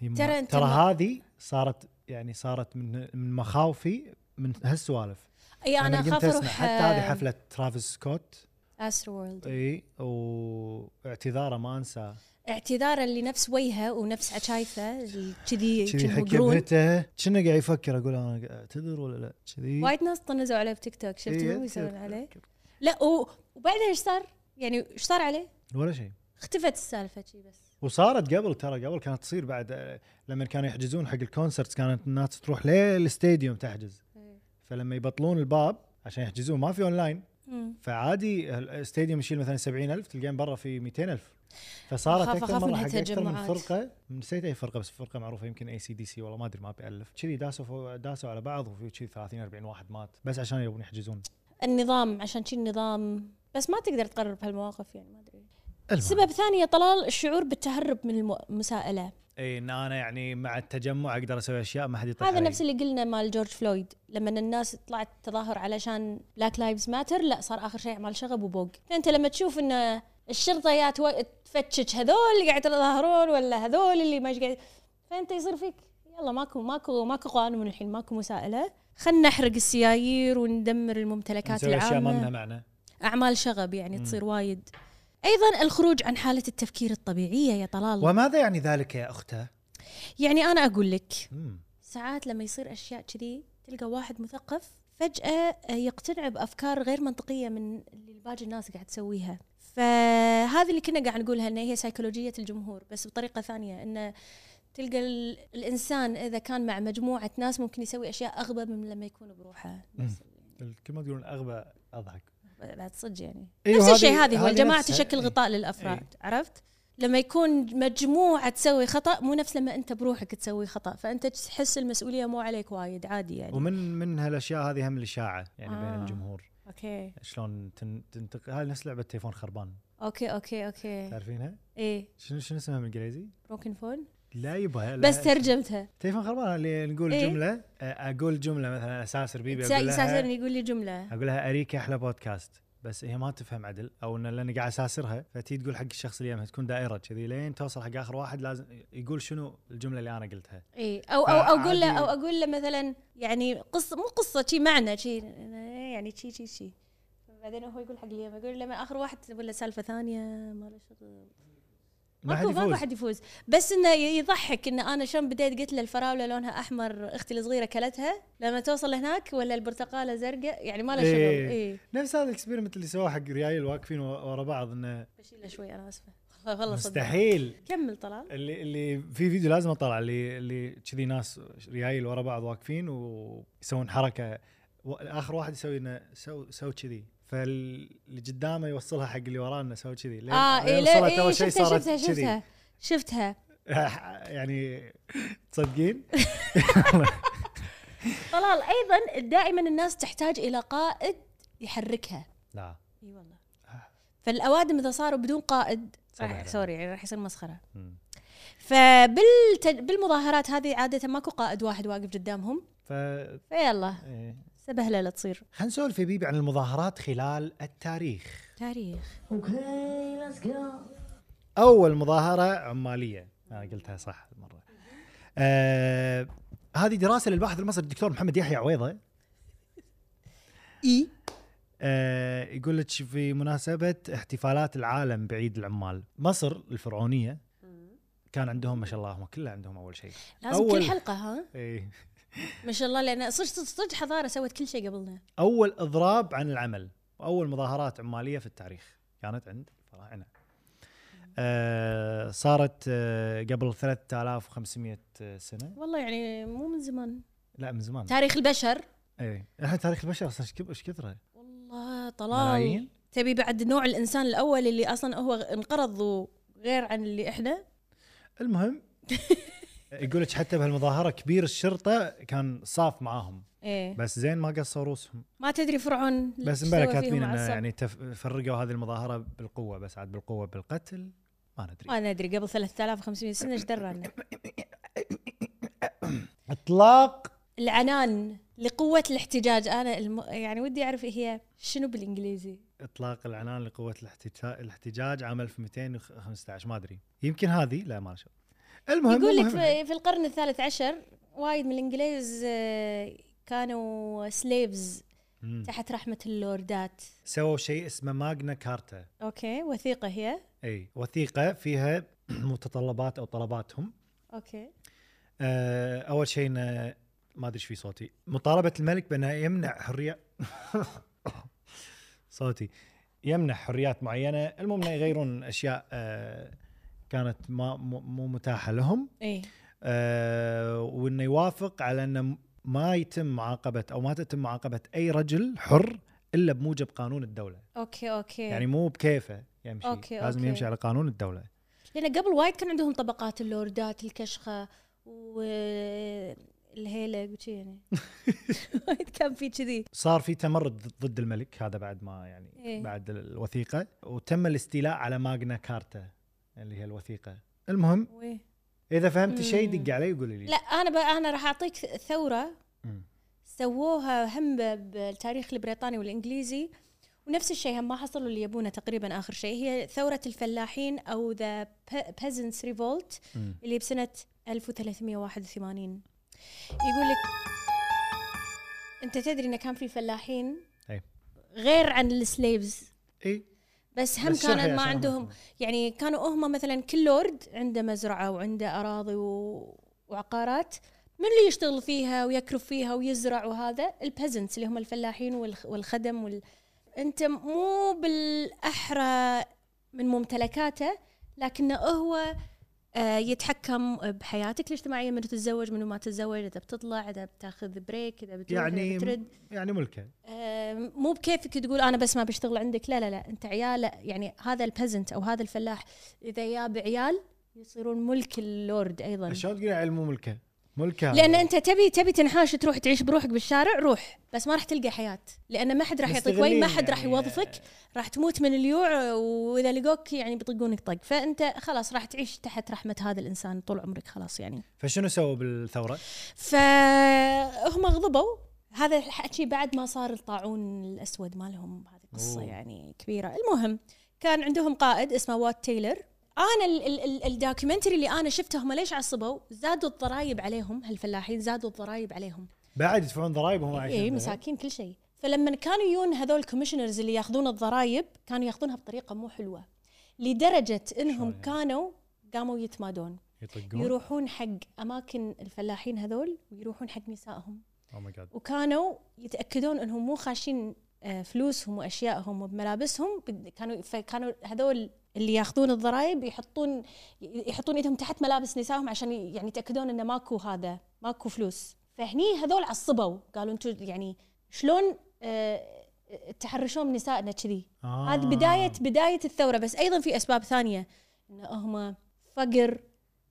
يما-
ترى أنت
ترى
ما-
هذه صارت يعني صارت من من مخاوفي من هالسوالف
اي انا
قمت
اخاف
أسمع.
اروح
حتى هذه
آه،
حفله ترافيس سكوت
استرو وورلد
اي واعتذاره ما انسى
اعتذارا لنفس وجهه ونفس عشايفه اللي كذي
كذي
كأنه
حكي
قرون.
بهته كنا قاعد يفكر اقول انا اعتذر ولا لا كذي
وايد ناس طنزوا عليه بتيك توك شفت
إيه،
هم يسوون
أذكر-
عليه
أذكر.
لا و- وبعدين ايش صار؟ يعني ايش صار عليه؟
ولا شيء
اختفت السالفه شي بس
وصارت قبل ترى قبل كانت تصير بعد آه، لما كانوا يحجزون حق الكونسرت كانت الناس تروح للاستاديوم تحجز
إيه.
فلما يبطلون الباب عشان يحجزون ما في اونلاين
مم.
فعادي الاستاديوم يشيل مثلا 70000 تلقين برا في 200000 فصارت
أخاف-
اكثر
أخاف
مره
من
حق اكثر من
هالتجمعات.
فرقه نسيت اي فرقه بس فرقه معروفه يمكن اي سي دي سي والله ما ادري ما ابي الف كذي داسوا فوق- داسوا على بعض وفي كذي 30 40 واحد مات بس عشان يبون يحجزون
النظام عشان شي النظام بس ما تقدر تقرر بهالمواقف يعني ما ادري
المهم.
سبب ثاني يا طلال الشعور بالتهرب من المساءله
اي ان انا يعني مع التجمع اقدر اسوي اشياء ما حد يطيح
هذا
علي.
نفس اللي قلنا مال جورج فلويد لما الناس طلعت تظاهر علشان بلاك لايفز ماتر لا صار اخر شيء اعمال شغب وبوق فانت لما تشوف ان الشرطه يا تو- تفتشك هذول اللي قاعد يتظاهرون ولا هذول اللي ما إيش قاعد فانت يصير فيك يلا ماكو ماكو ماكو قانون الحين ماكو مساءله خلنا نحرق السيايير وندمر الممتلكات
نسوي اشياء ما لنا
العامه
معنى
اعمال شغب يعني تصير وايد ايضا الخروج عن حاله التفكير الطبيعيه يا طلال
وماذا يعني ذلك يا اخته؟
يعني انا اقول لك
مم.
ساعات لما يصير اشياء كذي تلقى واحد مثقف فجأة آه، يقتنع بأفكار غير منطقية من اللي باقي الناس قاعد تسويها فهذه اللي كنا قاعد نقولها إن هي سيكولوجية الجمهور بس بطريقة ثانية إن تلقى ال- الإنسان إذا كان مع مجموعة ناس ممكن يسوي أشياء أغبى من لما يكون بروحه
كل ما تقولون اغبى اضحك
بعد صدق يعني
إيه،
نفس
وهذه-
الشيء هذه هو
هذه
الجماعه
نفسها.
تشكل
إيه.
غطاء للافراد عرفت لما يكون مجموعه تسوي خطا مو نفس لما انت بروحك تسوي خطا فانت تحس المسؤوليه مو عليك وايد عادي يعني
ومن من هالاشياء هذه هم الاشاعه يعني آه.
آه.
بين الجمهور
اوكي
شلون تن- تنتقل هاي نفس لعبه تليفون خربان
اوكي اوكي اوكي
تعرفينها؟
ايه
شنو شنو اسمها بالانجليزي؟
بروكن فون
لا يبا لا
بس ترجمتها
تليفون خربان اللي نقول
إيه؟
إيه؟ جمله آه، اقول جمله مثلا اساسر بيبي اقول
ساسر
لها
يقول لي جمله
اقول لها اريك احلى بودكاست بس هي ما تفهم عدل او ان لان قاعد اساسرها فتي تقول حق الشخص اللي يمها تكون دائره كذي لين توصل حق اخر واحد لازم يقول شنو الجمله اللي انا قلتها
اي او او او اقول له
فعادي.
او اقول له مثلا يعني قصه مو قصه شي معنى شي يعني شي شي شي بعدين هو يقول حق اليوم يقول لما اخر واحد ولا سالفه ثانيه ما له شغل
ما حد
ماكو ماكو
يفوز
احد يفوز بس انه ي- يضحك انه انا شلون بديت قلت له الفراوله لونها احمر اختي الصغيره كلتها لما توصل هناك ولا البرتقاله زرقاء يعني ما له شغل
إيه.
اي
نفس هذا الاكسبيرمنت اللي سووه حق ريايل واقفين و- ورا بعض انه
بشيله شوي انا اسفه والله والله صدق
مستحيل
كمل طلال
اللي اللي في فيديو لازم اطلع اللي اللي كذي ناس ريايل ورا بعض واقفين ويسوون حركه و- اخر واحد يسوي انه سو سو كذي فاللي قدامه يوصلها حق اللي وراه انه سوي كذي لين-
اه
لين
اي لا
وصلت
اي
أول شيء
شفتها
صارت
شفتها
كذي.
شفتها شفتها
يعني تصدقين؟
طلال ايضا دائما الناس تحتاج الى قائد يحركها
لا
اي والله فالاوادم اذا صاروا بدون قائد
صدق
راح
آه. عليهم.
سوري يعني راح يصير مسخره
مم.
فبالمظاهرات هذه عاده ماكو قائد واحد واقف قدامهم
ف
فيلا
إيه.
سبهله لا تصير
خلينا نسولف يا بيبي عن المظاهرات خلال التاريخ
تاريخ
اول مظاهره عماليه انا آه، قلتها صح المره آه هذه دراسه للباحث المصري الدكتور محمد يحيى عويضه
اي
آه، يقول لك في مناسبة احتفالات العالم بعيد العمال، مصر الفرعونية كان عندهم ما شاء الله هم كله عندهم اول شيء.
لازم
أول-
كل حلقه ها
إيه.
ما شاء الله لان صج صج صج حضاره سوت كل شيء قبلنا
اول اضراب عن العمل، واول مظاهرات عمالية في التاريخ كانت عند الفراعنة. آه صارت آه قبل 3500 سنة،
والله يعني مو من زمان
لا من زمان.
تاريخ البشر
اي احنا تاريخ البشر اصلا إيش كب- ايش كثره؟
والله طلال
ملايين؟
تبي بعد نوع الانسان الاول اللي اصلا هو انقرض وغير عن اللي احنا
المهم يقول لك حتى بهالمظاهرة كبير الشرطة كان صاف معاهم.
ايه
بس زين ما قصوا روسهم
ما تدري فرعون
إيه. بس
شو
امبارح
سوى فيهم
كاتبين انه
عصب.
يعني تف... فرقوا هذه المظاهره بالقوه بس عاد بالقوه بالقتل ما ندري
ما ندري قبل 3500 سنه ايش درانا
اطلاق
العنان لقوه الاحتجاج انا الم... يعني ودي اعرف إيه هي شنو بالانجليزي
اطلاق العنان لقوه الاحتجاج الاحتجاج عام 1215 ما ادري يمكن هذه لا ما شاء المهم
يقول لك
المهم-
في- في القرن الثالث عشر وايد من الانجليز آه، كانوا سليفز
مم.
تحت رحمه اللوردات
سووا شيء اسمه ماجنا كارتا
اوكي وثيقه هي
اي وثيقه فيها متطلبات او طلباتهم
اوكي
آه، اول شيء إنه- ما ادري ايش في صوتي مطالبه الملك بانه يمنع حريه صوتي يمنع حريات معينه المهم انه يغيرون اشياء آه، كانت ما مو مو متاحه لهم
اي
آه، وانه يوافق على انه ما يتم معاقبه او ما تتم معاقبه اي رجل حر الا بموجب قانون الدوله
اوكي اوكي
يعني
يعني
مو بكيفه يمشي
أوكي،
لازم
أوكي.
يمشي على قانون الدوله
لان قبل وايد كان عندهم طبقات اللوردات الكشخه والهيلة وشي يعني وايد كان في كذي
صار في تمرد ضد الملك هذا بعد ما يعني
إيه.
إيه؟ بعد الوثيقه وتم الاستيلاء على ماجنا كارتا اللي هي الوثيقه المهم
وي.
اذا فهمت
مم.
شيء دق علي وقولي لي
لا انا ب... انا راح اعطيك ثوره
مم.
سووها هم ب- بالتاريخ البريطاني والانجليزي ونفس الشيء هم ما حصلوا اللي يبونه تقريبا اخر شيء هي ثوره الفلاحين او ذا peasants ريفولت
مم.
اللي بسنه 1381 يقول لك انت تدري انه كان في فلاحين
أي.
غير عن السليفز
اي
بس هم
إيه، بس شرحي
كانوا ما
عشان
عندهم
أفهم.
يعني كانوا هم مثلا كل لورد عنده مزرعه وعنده اراضي و... وعقارات من اللي يشتغل فيها ويكرف فيها ويزرع وهذا البيزنتس اللي هم الفلاحين والخ... والخدم وال... انت مو بالاحرى من ممتلكاته لكنه هو آه، يتحكم بحياتك الاجتماعيه من تتزوج من ما تتزوج اذا بتطلع اذا بتاخذ بريك اذا بتروح
يعني
إذا بترد
يعني ملكه
آه، مو بكيفك تقول انا بس ما بشتغل عندك لا لا لا انت عيال يعني هذا البزنت او هذا الفلاح اذا جاب عيال يصيرون ملك اللورد ايضا
شلون تقول عيل مو ملكه ملكه
لان انت تبي تبي تنحاش تروح تعيش بروحك بالشارع روح بس ما راح تلقى حياه لان ما حد راح يعطيك وين ما حد راح
يعني-
يوظفك راح تموت من اليوع واذا لقوك يعني بيطقونك طق فانت خلاص راح تعيش تحت رحمه هذا الانسان طول عمرك خلاص يعني
فشنو سووا بالثوره؟
فهم غضبوا هذا الحكي بعد ما صار الطاعون الاسود مالهم هذه قصه
أوه.
يعني كبيره المهم كان عندهم قائد اسمه وات تايلر انا ال- ال- ال- الدوكيومنتري اللي انا شفته هم ليش عصبوا زادوا الضرائب عليهم هالفلاحين زادوا الضرائب عليهم
بعد يدفعون ضرائب وهم عايشين
اي
بلد.
مساكين كل شيء فلما كانوا يجون هذول الكوميشنرز اللي ياخذون الضرائب كانوا ياخذونها بطريقه مو حلوه لدرجه انهم
شلون يعني؟
كانوا قاموا يتمادون
يطقون
يروحون حق اماكن الفلاحين هذول ويروحون حق نسائهم
او ماي جاد
وكانوا يتاكدون انهم مو خاشين آه، فلوسهم واشيائهم وملابسهم بد- كانوا فكانوا هذول اللي ياخذون الضرائب يحطون يحطون ايدهم تحت ملابس نسائهم عشان ي- يعني يتاكدون انه ماكو هذا ماكو فلوس فهني هذول عصبوا قالوا انتم يعني شلون آه، تحرشون من نسائنا كذي
آه.
هذه بداية بداية الثورة بس أيضا في أسباب ثانية إن هم فقر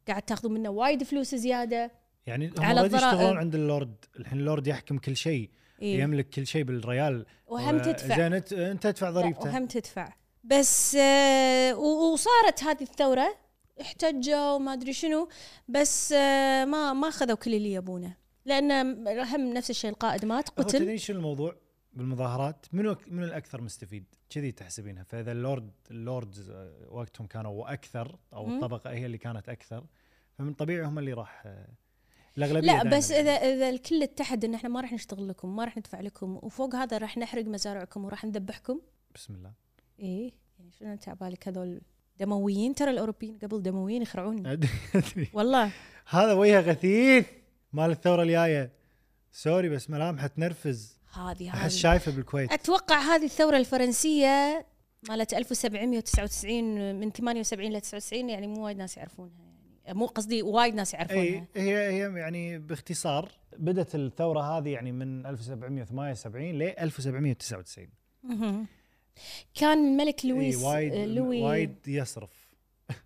قاعد تاخذون منا وايد فلوس زيادة
يعني هم
على
على يشتغلون
الضرائب.
عند اللورد الحين اللورد يحكم كل شيء
إيه.
يملك كل شيء بالريال
وهم
يعني آه،
تدفع.
زين انت انت تدفع
لا،
ضريبته
وهم تدفع بس آه، و- وصارت هذه الثورة احتجوا وما أدري شنو بس آه، ما ما أخذوا كل اللي يبونه لأن هم نفس الشيء القائد مات
هو
قتل
تدري شنو الموضوع بالمظاهرات منو أك- منو الاكثر مستفيد كذي تحسبينها فاذا اللورد اللوردز آه، وقتهم كانوا اكثر او
مم.
الطبقه هي اللي كانت اكثر فمن طبيعي هم اللي راح آه، الاغلبيه
لا
دائماً
بس اذا اذا الكل اتحد ان احنا ما راح نشتغل لكم ما راح ندفع لكم وفوق هذا راح نحرق مزارعكم وراح نذبحكم
بسم الله
ايه يعني شنو انت عبالك هذول دمويين ترى الاوروبيين قبل دمويين يخرعون
أدري- أدري.
والله
هذا وجهه غثيث مال الثوره الجايه سوري بس ملامحه تنرفز
هذه
احس
هذه
شايفه بالكويت
اتوقع هذه الثوره الفرنسيه مالت 1799 من 78 ل 99 يعني مو وايد ناس يعرفونها يعني مو قصدي وايد ناس
اي
يعرفونها
هي هي يعني باختصار بدات الثوره هذه يعني من 1778 ل 1799
مهم. كان الملك لويس
اي إيه، وايد
آه، لوي
وايد يصرف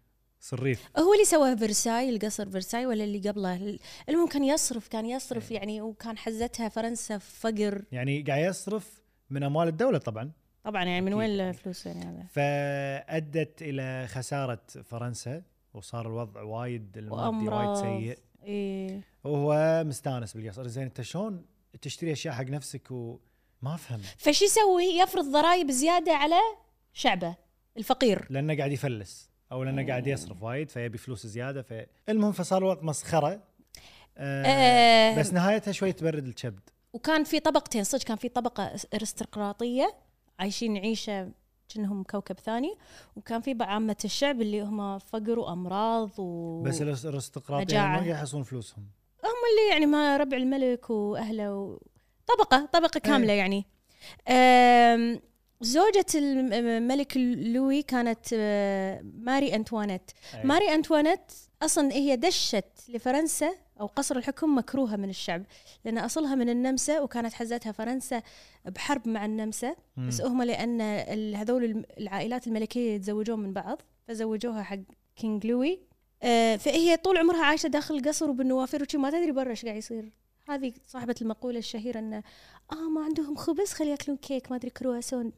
صريف
هو اللي سواه فرساي القصر فرساي ولا اللي قبله المهم كان يصرف كان يصرف
إيه.
يعني وكان حزتها فرنسا فقر
يعني قاعد يصرف من اموال الدوله طبعا
طبعا يعني من
أكيد.
وين الفلوس يعني هذا
فادت الى خساره فرنسا وصار الوضع وايد المادي وايد
وأمراض.
سيء
إيه.
وهو مستانس بالقصر زين انت شلون تشتري اشياء حق نفسك وما افهم
فشي يسوي يفرض ضرائب زياده على شعبه الفقير
لانه قاعد يفلس او لانه قاعد يصرف وايد فيبي فلوس زياده ف المهم فصار الوضع مسخره آه
آه
بس نهايتها شوي تبرد الكبد
وكان في طبقتين صدق كان في طبقه ارستقراطيه عايشين عيشه كأنهم كوكب ثاني وكان في بقى عامه الشعب اللي هم فقر وامراض و
بس الأس- الارستقراطيه
مجاعة.
ما قاعد يحصلون فلوسهم
اللي يعني ما ربع الملك واهله و... طبقه طبقه كامله
إيه.
يعني أم... زوجة الم- الملك لوي كانت آه، ماري أنتوانيت
أي.
ماري أنتوانيت أصلا هي دشت لفرنسا أو قصر الحكم مكروهة من الشعب لأن أصلها من النمسا وكانت حزتها فرنسا بحرب مع النمسا
مم.
بس هم لأن ال- هذول الم- العائلات الملكية يتزوجون من بعض فزوجوها حق كينج لوي آه، فهي طول عمرها عايشة داخل القصر وبالنوافذ وشي ما تدري برا ايش قاعد يصير هذه صاحبة المقولة الشهيرة أنه آه ما عندهم خبز خلي ياكلون كيك ما أدري كرواسون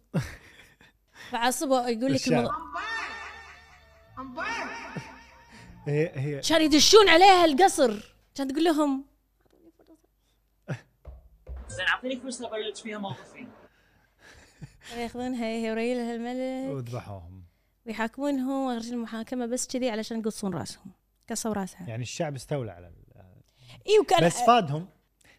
فعصبه يقول لك
الشعب.
الموضوع
هي هي
كان يدشون عليها القصر كان تقول لهم
زين اعطيني فلوس ابلش فيها موظفين
ياخذونها هي وريلها الملك
وذبحوهم
ويحاكمونهم ويخرجون المحاكمة بس كذي علشان يقصون راسهم قصوا راسها إيوه،
يعني الشعب استولى على ال-
اي وكان
بس فادهم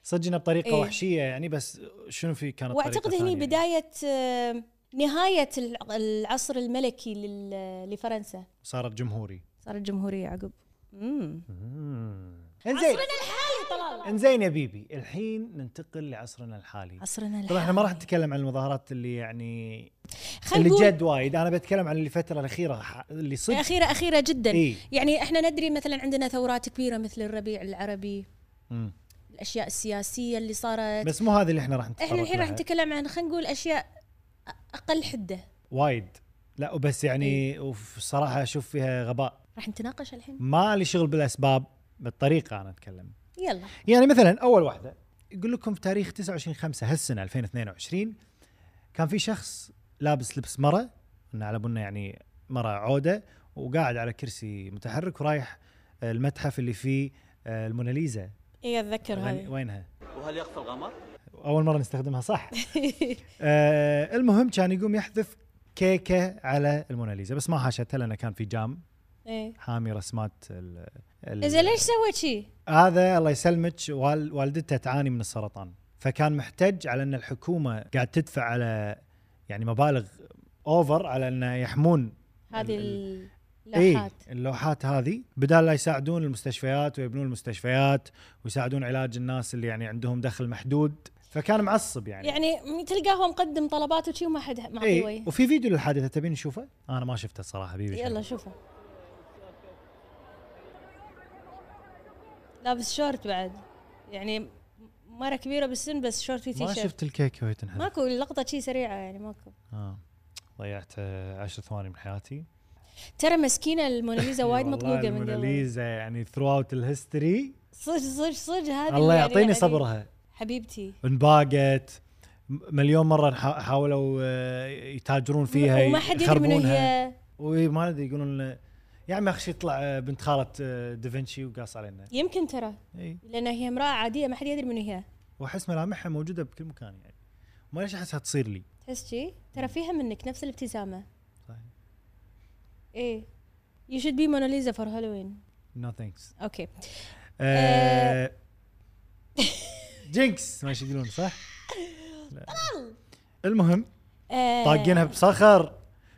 صدقنا بطريقه
إيه.
وحشيه يعني بس شنو في كانت طريقة
واعتقد هني
ثانية؟
بدايه آه، نهايه الع- العصر الملكي لل- لفرنسا
صارت جمهوري
صارت جمهوريه عقب امم
انزين
الحالي طلال
انزين يا بيبي الحين ننتقل لعصرنا الحالي
عصرنا
طبعا
الحالي
احنا ما راح نتكلم عن المظاهرات اللي يعني
خل
اللي
نقول
جد وايد انا بتكلم عن الفتره الاخيره ح- اللي صدق
اخيره اخيره جدا
إيه.
يعني احنا ندري مثلا عندنا ثورات كبيره مثل الربيع العربي
مم.
الاشياء السياسيه اللي صارت
إيه. بس مو هذه اللي احنا راح نتطرق
احنا الحين راح
لها.
نتكلم عن خلينا نقول اشياء أ- اقل حده
وايد لا وبس يعني وصراحه اشوف فيها غباء
راح نتناقش الحين
ما لي شغل بالاسباب بالطريقه انا اتكلم
يلا
يعني مثلا اول واحده يقول لكم في تاريخ 29 5 هالسنه 2022 كان في شخص لابس لبس مره ان على بنا يعني مره عوده وقاعد على كرسي متحرك ورايح المتحف اللي فيه آه، الموناليزا
اي اتذكر
وين-
هذه
وينها؟
وهل يخفى الغمر؟
اول مره نستخدمها صح آه المهم كان يقوم يحذف كيكه على الموناليزا بس ما حاشتها لانه كان في جام
ايه
حامي رسمات ال ال-
إيه زين ليش سويت شي؟
هذا الله يسلمك وال- والدته تعاني من السرطان فكان محتج على ان الحكومه قاعد تدفع على يعني مبالغ اوفر على انه يحمون
هذه
ال-
اللوحات
إيه اللوحات هذه بدال لا يساعدون المستشفيات ويبنون المستشفيات ويساعدون علاج الناس اللي يعني عندهم دخل محدود فكان معصب يعني
يعني م- تلقاه مقدم طلبات وشي وما حد معطيه
اي
وجه.
وفي فيديو للحادثه تبين نشوفه؟ انا ما شفته الصراحه بيبي
يلا شوفه لابس شورت بعد يعني مره كبيره بالسن بس شورت
ما
وتي شيرت
شفت الكيكه وهي تنحذف
ماكو اللقطه شي سريعه يعني ماكو
آه. ضيعت آه، عشر ثواني من حياتي
ترى مسكينه الموناليزا وايد
والله
مطلوقه من قبل
الموناليزا يعني ثرو اوت الهيستوري
صج صج صج هذه
الله
يعني-
يعطيني
يعني
صبرها
حبيبتي
انباقت م- مليون مره نح- حاولوا آه، يتاجرون فيها
وما حد يدري منو
يخربونها.
هي
وما ادري يقولون آه، يا عمي اخشي يطلع آه، بنت خاله آه، دافنشي وقاص علينا
يمكن ترى
اي
لان هي امراه عاديه ما حد يدري منو هي
واحس ملامحها موجوده بكل مكان يعني ما ليش احسها تصير لي
تحس شي ترى فيها منك نفس الابتسامه
صحيح.
ايه يو شود بي موناليزا فور هالوين
نو ثانكس
اوكي
آه، جينكس ما إيش يقولون صح؟ لا. المهم
آه،
طاقينها بصخر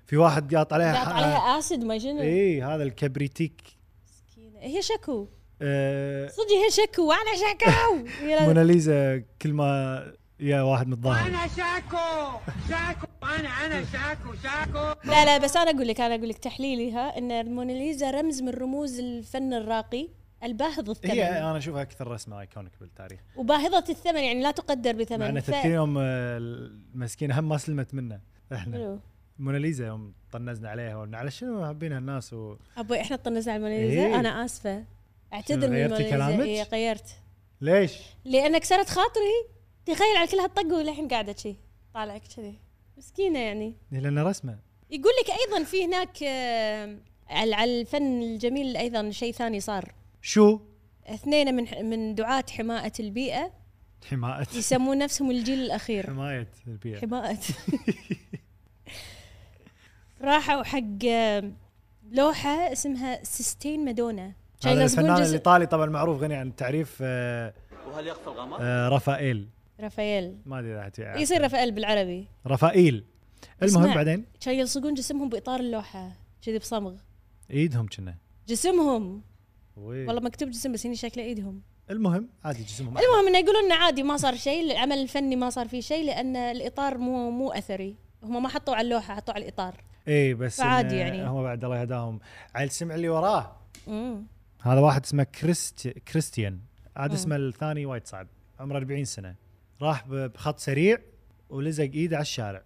في واحد قاط عليها
قاط عليها اسد ما شنو
اي هذا الكبريتيك
مسكينة. هي شكو
آه،
صدق هي شكو وانا شكو يلا.
موناليزا كل ما يا واحد متظاهر
انا شاكو شاكو انا انا شاكو شاكو
لا لا بس انا اقول لك انا اقول لك تحليلها ان الموناليزا رمز من رموز الفن الراقي الباهظ
هي آه.
الثمن
انا اشوفها اكثر رسمه ايكونيك بالتاريخ
وباهظة الثمن يعني لا تقدر
مع
بثمن
ان
ف-
تذكر يوم آه، المسكينه هم ما سلمت منه احنا
حلو.
موناليزا يوم طنزنا عليها وقلنا على شنو حابينها الناس و...
ابوي احنا طنزنا على الموناليزا
إيه.
انا اسفه اعتذر
شنو،
من
غيرتي
الموناليزا
كلامك؟
إيه غيرت
ليش؟
لان كسرت خاطري تخيل على كل هالطقه والحين قاعده شي طالعك كذي مسكينه يعني
لان رسمه
يقول لك ايضا في هناك آه، على على الفن الجميل ايضا شيء ثاني صار
شو؟
اثنين من من دعاة حماة البيئة
حمايه
يسمون نفسهم الجيل الأخير
حمايه البيئه
حماة راحوا حق آه، لوحة اسمها سيستين مادونا كانوا
هذا
يلزقون
الفنان
جزء-
الايطالي طبعا معروف غني عن التعريف آه،
وهل يخفى الغمر؟
آه، رافائيل
رافائيل
ما ادري اذا حتي-
يصير رافائيل بالعربي
رافائيل
اسمع.
المهم بعدين
كانوا يلصقون جسمهم بإطار اللوحة كذي بصمغ
ايدهم كنا
جسمهم
وي.
والله مكتوب جسم بس هني شكله ايدهم
المهم عادي جسمهم أحمر.
المهم انه يقولون انه عادي ما صار شيء العمل الفني ما صار فيه شيء لان الاطار مو مو اثري هم ما حطوا على اللوحه حطوا على الاطار
اي بس
فعادي
إنه
يعني.
هم بعد الله يهداهم عيل سمع اللي وراه
امم
هذا واحد اسمه كريست كريستيان عاد اسمه الثاني وايد صعب عمره 40 سنه راح ب- بخط سريع ولزق ايده على الشارع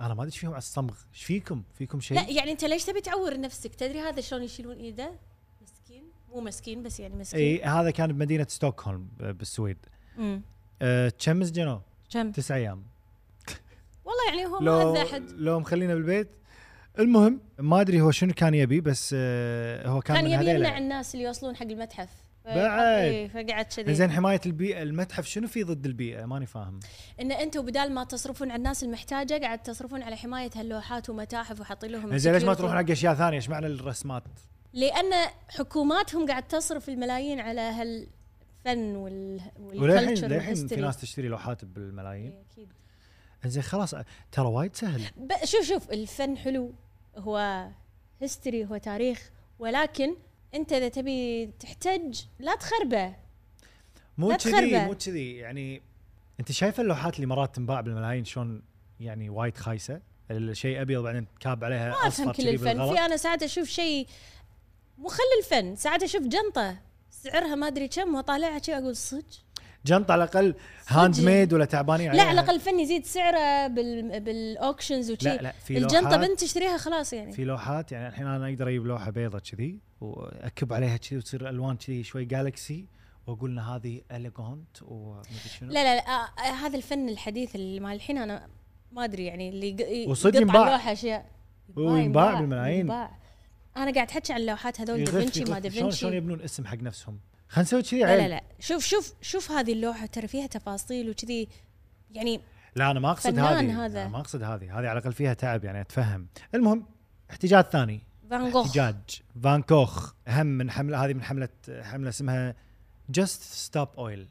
انا ما ادري إيش فيهم على الصمغ ايش فيكم فيكم شيء
لا يعني انت ليش تبي تعور نفسك تدري هذا شلون يشيلون ايده مسكين مو مسكين بس يعني مسكين
اي هذا كان بمدينه ستوكهولم آه، بالسويد
امم
أه، كم سجنوه؟
كم
تسع ايام
والله يعني هو ما
لو
اذى احد
لو مخلينا بالبيت المهم ما ادري هو شنو كان يبي بس آه، هو كان,
كان
من
يبي
هذيلا.
يمنع الناس اللي يوصلون حق المتحف ف-
بعد.
إيه، فقعد كذي
زين حمايه البيئه المتحف شنو في ضد البيئه ماني فاهم
ان انتم بدال ما تصرفون على الناس المحتاجه قاعد تصرفون على حمايه هاللوحات ومتاحف وحاطين لهم
زين ليش ما
security.
تروحون حق اشياء ثانيه ايش معنى الرسمات
لان حكوماتهم قاعد تصرف الملايين على هالفن وال
وللحين
والculture
للحين في
والhistory.
ناس تشتري لوحات بالملايين
إيه، أكيد. إيه.
زين خلاص أ- ترى وايد سهل
ب- شوف شوف الفن حلو هو هيستوري هو تاريخ ولكن انت اذا تبي تحتج لا تخربه
مو
لا
كذي
تخربه.
مو كذي يعني انت شايفه اللوحات اللي مرات تنباع بالملايين شلون يعني وايد خايسه الشيء ابيض بعدين كاب عليها
ما افهم كل
كذي
الفن
بالغلط.
في انا ساعات اشوف شيء مو خل الفن ساعات اشوف جنطه سعرها ما ادري كم واطالعها شيء اقول صدق
جنطه على الاقل هاند ميد ولا تعبانين
لا
عليها
على الاقل الفن يزيد سعره بال بالاوكشنز وشي
لا لا في
الجنطه
لوحات-
بنت تشتريها خلاص يعني
في لوحات يعني الحين انا اقدر اجيب لوحه بيضة كذي واكب عليها كذي وتصير الوان كذي شوي جالكسي واقول ان هذه اليجونت ومدري شنو
لا لا, لا آه آه، هذا الفن الحديث اللي مال الحين انا ما ادري يعني اللي يق- ي-
وصدق
يقطع
ينباع.
لوحه اشياء
وينباع
ينباع،
بالملايين. إيه،
ينباع. انا قاعد احكي عن لوحات هذول
يغث-
دافنشي ما
يغث. شلون شلون
دافنشي
يبنون اسم حق نفسهم خلينا نسوي كذي
لا
عيل
لا لا شوف شوف شوف هذه اللوحه ترى فيها تفاصيل وكذي يعني
لا انا ما اقصد
فنان
هذه
هذا.
انا ما اقصد هذه هذه على الاقل فيها تعب يعني اتفهم المهم احتجاج ثاني
فان جوخ
احتجاج فان كوخ هم من حمله هذه من حمله حمله اسمها جاست ستوب اويل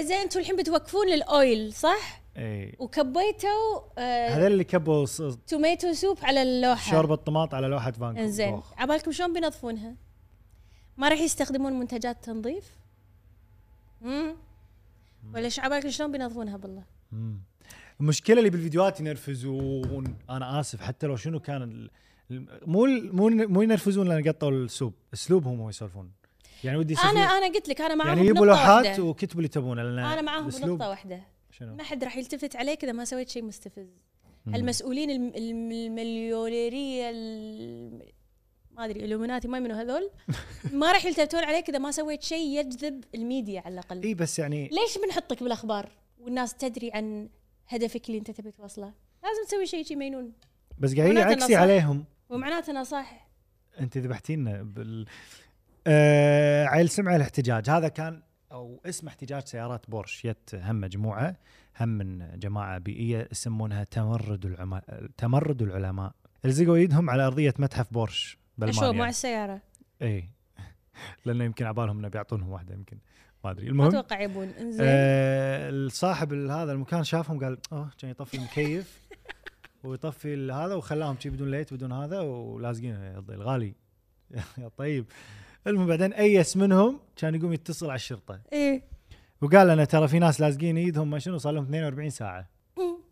زين انتم الحين بتوقفون للاويل صح؟
اي
وكبيتوا آه
هذول اللي كبوا ص-
توميتو سوب على اللوحه
شوربه طماط على لوحه فان كوخ
انزين عبالكم شلون بينظفونها؟ ما راح يستخدمون منتجات تنظيف؟ امم ولا شو عبالكم شلون بينظفونها بالله؟
المشكله اللي بالفيديوهات ينرفزون انا اسف حتى لو شنو كان ال- ال- مو ال- مو مو ينرفزون لان قطوا السوب اسلوبهم هم يسولفون يعني ودي يصير
انا
فيه-
انا قلت لك انا معاهم
يعني
يعني
يجيبوا لوحات
واحدة
وكتبوا اللي تبونه لان
انا معاهم
الأسلوب-
بنقطه واحده
شنو؟
ما حد راح يلتفت عليك اذا ما سويت شيء مستفز المسؤولين الم- الم- المليونيريه الم- ما ادري الومناتي ما منو هذول ما راح يلتفتون عليك اذا ما سويت شيء يجذب الميديا على الاقل
اي بس يعني
ليش بنحطك بالاخبار والناس تدري عن هدفك اللي انت تبي توصله لازم تسوي شيء شي مينون
بس قاعدين
معناته إنه
عكسي
صح.
عليهم
ومعناته انا صح
انت ذبحتينا بال آه عيل سمع الاحتجاج هذا كان او اسم احتجاج سيارات بورش يت هم مجموعه هم من جماعه بيئيه يسمونها تمرد العلماء تمرد العلماء لزقوا ايدهم على ارضيه متحف بورش
اشوف مع
بالمانيا
السياره
اي لانه يمكن عبالهم انه بيعطونهم واحده يمكن ما ادري
ما
المهم
اتوقع يبون انزين
آه الصاحب ال- هذا المكان شافهم قال اوه كان يطفي المكيف ويطفي ال- هذا وخلاهم شي بدون ليت بدون هذا ولازقين الغالي يا طيب المهم بعدين ايس منهم كان يقوم يتصل على الشرطه
ايه
وقال انا ترى في ناس لازقين ايدهم ما شنو صار لهم 42 ساعه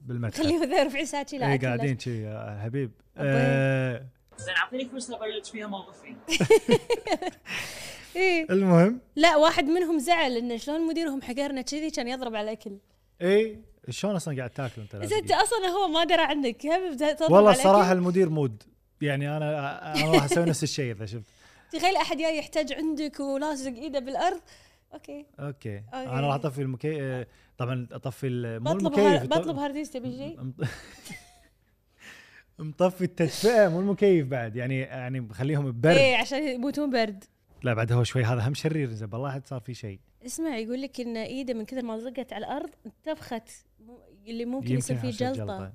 بالمتحف
خليهم ذا 40 ساعه شي لا
اي
أكل
قاعدين شي يا حبيب
أبوي.
آه
زين اعطيني فرصه ابرلج فيها موظفين
لازم. ايه
المهم
لا واحد منهم زعل انه شلون مديرهم حقرنا كذي كان يضرب على الاكل
اي إيه، شلون اصلا قاعد تاكل انت
اذا
لازقين؟
انت اصلا هو ما درى عنك هم تضرب
والله
على الأكل.
الصراحه المدير مود يعني انا انا راح اسوي نفس الشيء اذا شفت
تخيل احد جاي يحتاج عندك ولازق ايده بالارض اوكي
اوكي
أوكي.
انا راح اطفي المكي آه، طبعا اطفي ال- مو
بطلب
المكيف
هار...
الط-
بطلب هارديس تبي شيء
مط- مطفي التدفئه مو المكيف بعد يعني يعني بخليهم ببرد
ايه عشان يموتون برد
لا بعد هو شوي هذا هم شرير زين بالله حد صار في شيء
اسمع يقول لك ان ايده من كثر ما لزقت على الارض انتفخت مو- اللي ممكن يصير فيه
عشان
جلطه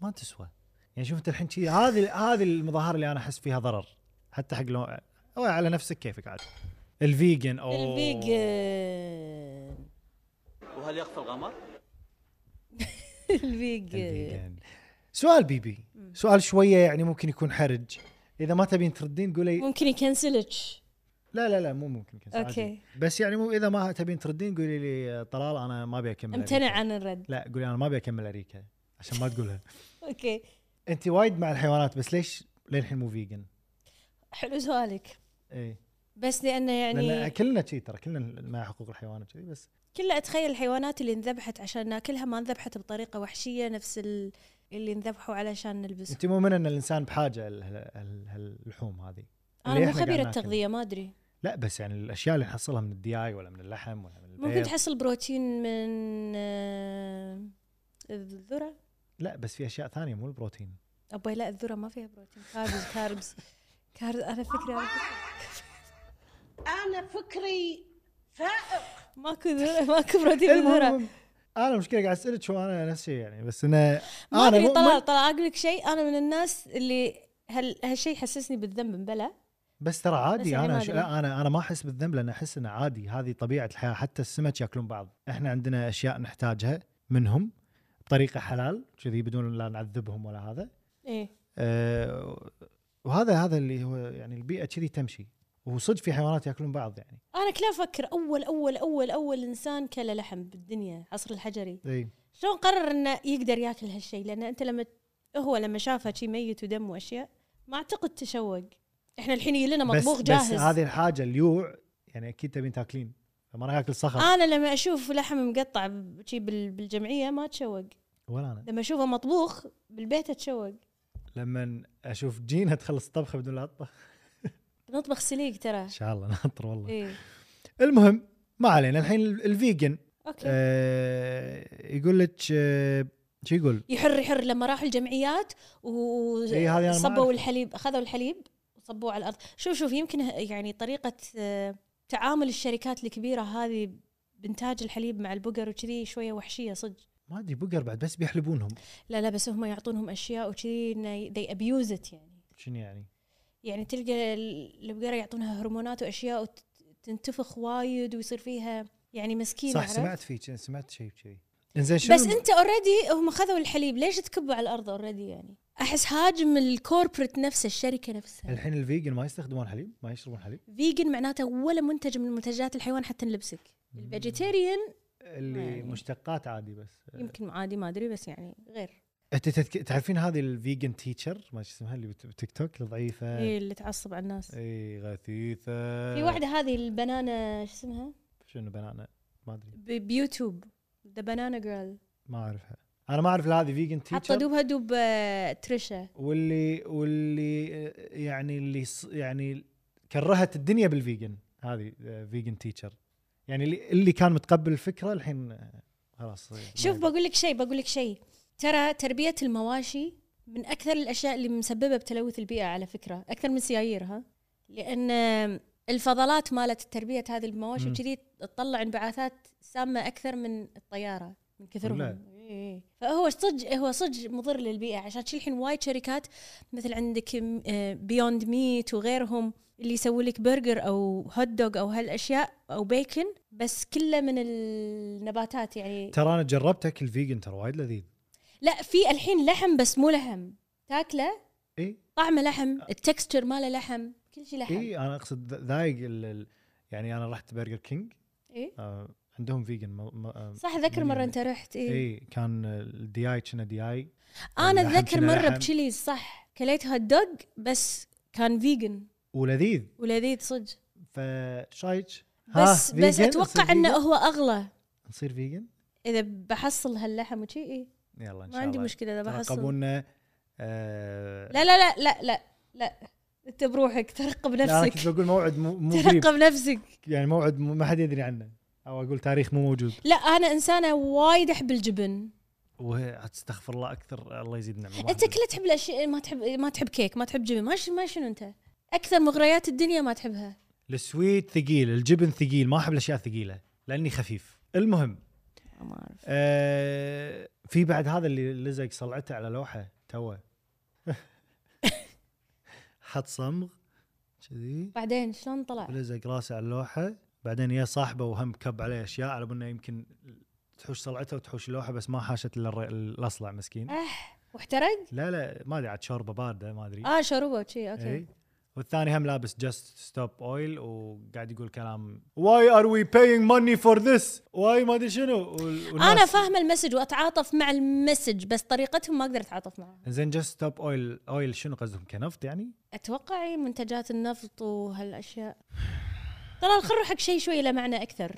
ما تسوى يعني شوف انت الحين شي هذه هذه المظاهر اللي انا احس فيها ضرر حتى حق لو أو على نفسك كيفك عاد الفيجن او
الفيجن
وهل يخفى القمر؟
الفيجن
الفيجن سؤال بيبي سؤال شويه يعني ممكن يكون حرج اذا ما تبين تردين قولي
ممكن يكنسلك
لا لا لا مو ممكن كذا
أوكي.
اوكي بس يعني مو اذا ما تبين تردين قولي لي آه، طلال انا ما ابي اكمل
امتنع
أريكة.
عن الرد
لا قولي انا ما ابي اكمل اريكا عشان ما تقولها
اوكي
انت وايد مع الحيوانات بس ليش للحين مو فيجن؟
حلو سؤالك
اي
بس لانه
لان
يعني
كلنا شي ترى كلنا مع حقوق الحيوان وشي بس
كله اتخيل الحيوانات اللي انذبحت عشان ناكلها ما انذبحت بطريقه وحشيه نفس ال... اللي انذبحوا علشان نلبسهم
انت مؤمنه ان الانسان بحاجه اللحوم هذه
انا
اللي
مو
إحنا قاعد
خبيره
ناكل.
تغذيه ما ادري
لا بس يعني الاشياء اللي نحصلها من الدياي ولا من اللحم ولا من
ممكن
البيض
تحصل بروتين من آه، الذره
لا بس في اشياء ثانيه مو البروتين
ابوي لا الذره ما فيها بروتين كاربز كاربز كاربز انا فكري انا
انا فكري فائق
ماكو ذره ماكو بروتين بالذره
المهم آه، انا المشكله قاعد اسالك شو انا نفسي يعني بس انه
ما
انا
ادري
مؤمن-
طلال طلال اقول لك شيء انا من الناس اللي هل هالشيء حسسني بالذنب مبلا
بس ترى
بس
عادي
يعني ما
انا ش...
أدري.
لا، انا انا ما احس بالذنب لان احس انه عادي هذه طبيعه الحياه حتى السمك ياكلون بعض احنا عندنا اشياء نحتاجها منهم بطريقه حلال كذي بدون لا نعذبهم ولا هذا آه،
ايه
أه... وهذا هذا اللي هو يعني البيئه كذي تمشي وصدق في حيوانات ياكلون بعض يعني
انا كل افكر اول اول اول اول انسان كل لحم بالدنيا عصر الحجري
اي
شلون قرر انه يقدر ياكل هالشيء لان انت لما هو لما شافه شي ميت ودم واشياء ما اعتقد تشوق احنا الحين يجي لنا
بس
مطبوخ
بس
جاهز
هذه الحاجه اليوع يعني اكيد تبين تاكلين فما راح ياكل صخر
انا لما اشوف لحم مقطع ب- شي بال- بالجمعيه ما اتشوق
ولا انا
لما اشوفه مطبوخ بالبيت اتشوق
لما اشوف جينا تخلص الطبخه بدون لا
آه.
اطبخ
نطبخ سليق ترى
ان شاء الله ناطر والله
ايه
المهم ما علينا الحين ال- الفيجن
اوكي
آه يقول لك آه شو يقول؟
يحر يحر لما راحوا الجمعيات
إي، هذه أنا ما
وصبوا
أعرفها.
الحليب اخذوا الحليب وصبوه على الارض شوف شوف يمكن ه- يعني طريقه آه، تعامل الشركات الكبيره هذه بانتاج الحليب مع البقر وكذي شويه وحشيه صدق
ما ادري بقر بعد بس بيحلبونهم
لا لا بس هم يعطونهم اشياء وكذي ذي ابيوزت يعني
شنو يعني؟
يعني تلقى ال- البقرة يعطونها هرمونات وأشياء وتنتفخ وايد ويصير فيها يعني مسكينة
صح
عرفت؟
سمعت فيك سمعت شيء كذي انزين شنو
بس أنت اوريدي هم خذوا الحليب ليش تكبه على الأرض اوريدي يعني؟ أحس هاجم الكوربريت نفسه الشركة نفسها
الحين الفيجن ما يستخدمون حليب؟ ما يشربون حليب؟
فيجن معناته ولا منتج من منتجات الحيوان حتى نلبسك الفيجيتيريان
اللي
يعني.
مشتقات عادي بس
يمكن عادي ما أدري بس يعني غير
انت تذك... تعرفين هذه الفيجن تيتشر ما شو اسمها اللي بت- بتيك توك الضعيفه
هي اللي تعصب على الناس
اي غثيثه
إيه. في واحدة هذه البنانة شو اسمها؟
شنو بنانا ما ادري
ب- بيوتيوب ذا بنانا جيرل
ما اعرفها انا ما اعرف لا هذه فيجن
حاطة
تيتشر
دوبها دوب آه، تريشا
واللي واللي آه، يعني اللي ص- يعني كرهت الدنيا بالفيجن هذه آه، فيجن تيتشر يعني اللي, اللي كان متقبل الفكره الحين آه، خلاص آه،
شوف
ما يقدر.
بقول لك شيء بقول لك شيء ترى تربيه المواشي من اكثر الاشياء اللي مسببه بتلوث البيئه على فكره اكثر من السيايير ها لان الفضلات مالت تربيه هذه المواشي
مم.
وكذي تطلع انبعاثات سامه اكثر من الطياره من
والله.
كثرهم إيه. فهو صج هو صج مضر للبيئه عشان شي الحين وايد شركات مثل عندك بيوند ميت وغيرهم اللي يسوي لك برجر او هوت دوغ او هالاشياء او بيكن بس كله من النباتات يعني
ترى انا جربت اكل فيجن ترى وايد لذيذ
لا في الحين لحم بس مو لحم تاكله
اي
طعمه لحم التكستشر ماله لحم كل شيء لحم
اي انا اقصد ذايق ال- ال- يعني انا رحت برجر كينج
إيه؟
آه عندهم فيجن ما ما آه
صح ذكر مره
مليون.
انت رحت اي إيه؟
اي كان الدياي كنا دياي
انا
اللحم
اتذكر
شنو
مره
لحم؟
بتشيليز صح كليت هوت دوغ بس كان فيجن
ولذيذ
ولذيذ صدق
فشايج ها،
بس بس
فيجن؟
اتوقع
نصير
انه
فيجن؟
هو اغلى
نصير فيجن
اذا بحصل هاللحم وشي اي
يلا ان شاء الله
ما عندي مشكله اذا بحصل
ترقبونا آه
لا لا لا لا لا لا انت بروحك ترقب
لا، انا كنت
نفسك
بقول موعد مو مو قريب
ترقب نفسك
يعني موعد مو- ما حد يدري عنه او اقول تاريخ مو موجود
لا انا انسانه وايد احب الجبن
وه- استغفر الله اكثر الله يزيد نعمه ما
انت
أدري.
كله تحب الاشياء ما تحب ما تحب كيك ما تحب جبن ما ش- ما شنو انت اكثر مغريات الدنيا ما تحبها
السويت ثقيل الجبن ثقيل ما احب الاشياء الثقيله لاني خفيف المهم
ما اعرف
آه في بعد هذا اللي لزق صلعته على لوحه توه حط صمغ كذي
بعدين شلون طلع
لزق راسه على اللوحه بعدين يا صاحبه وهم كب عليه اشياء على انه يمكن تحوش صلعته وتحوش اللوحه بس ما حاشت الا الر- الاصلع مسكين
اح واحترق
لا لا ما ادري عاد شوربه بارده ما ادري
اه شربه شي اوكي
إي. والثاني هم لابس جاست ستوب اويل وقاعد يقول كلام واي ار وي paying ماني فور ذس واي ما ادري شنو وال- والناس-
انا فاهمه المسج واتعاطف مع المسج بس طريقتهم ما اقدر اتعاطف معها
زين جاست ستوب اويل اويل شنو قصدهم كنفط يعني؟
اتوقع إي إيه منتجات النفط وهالاشياء ترى خل روحك شيء شوي له معنى اكثر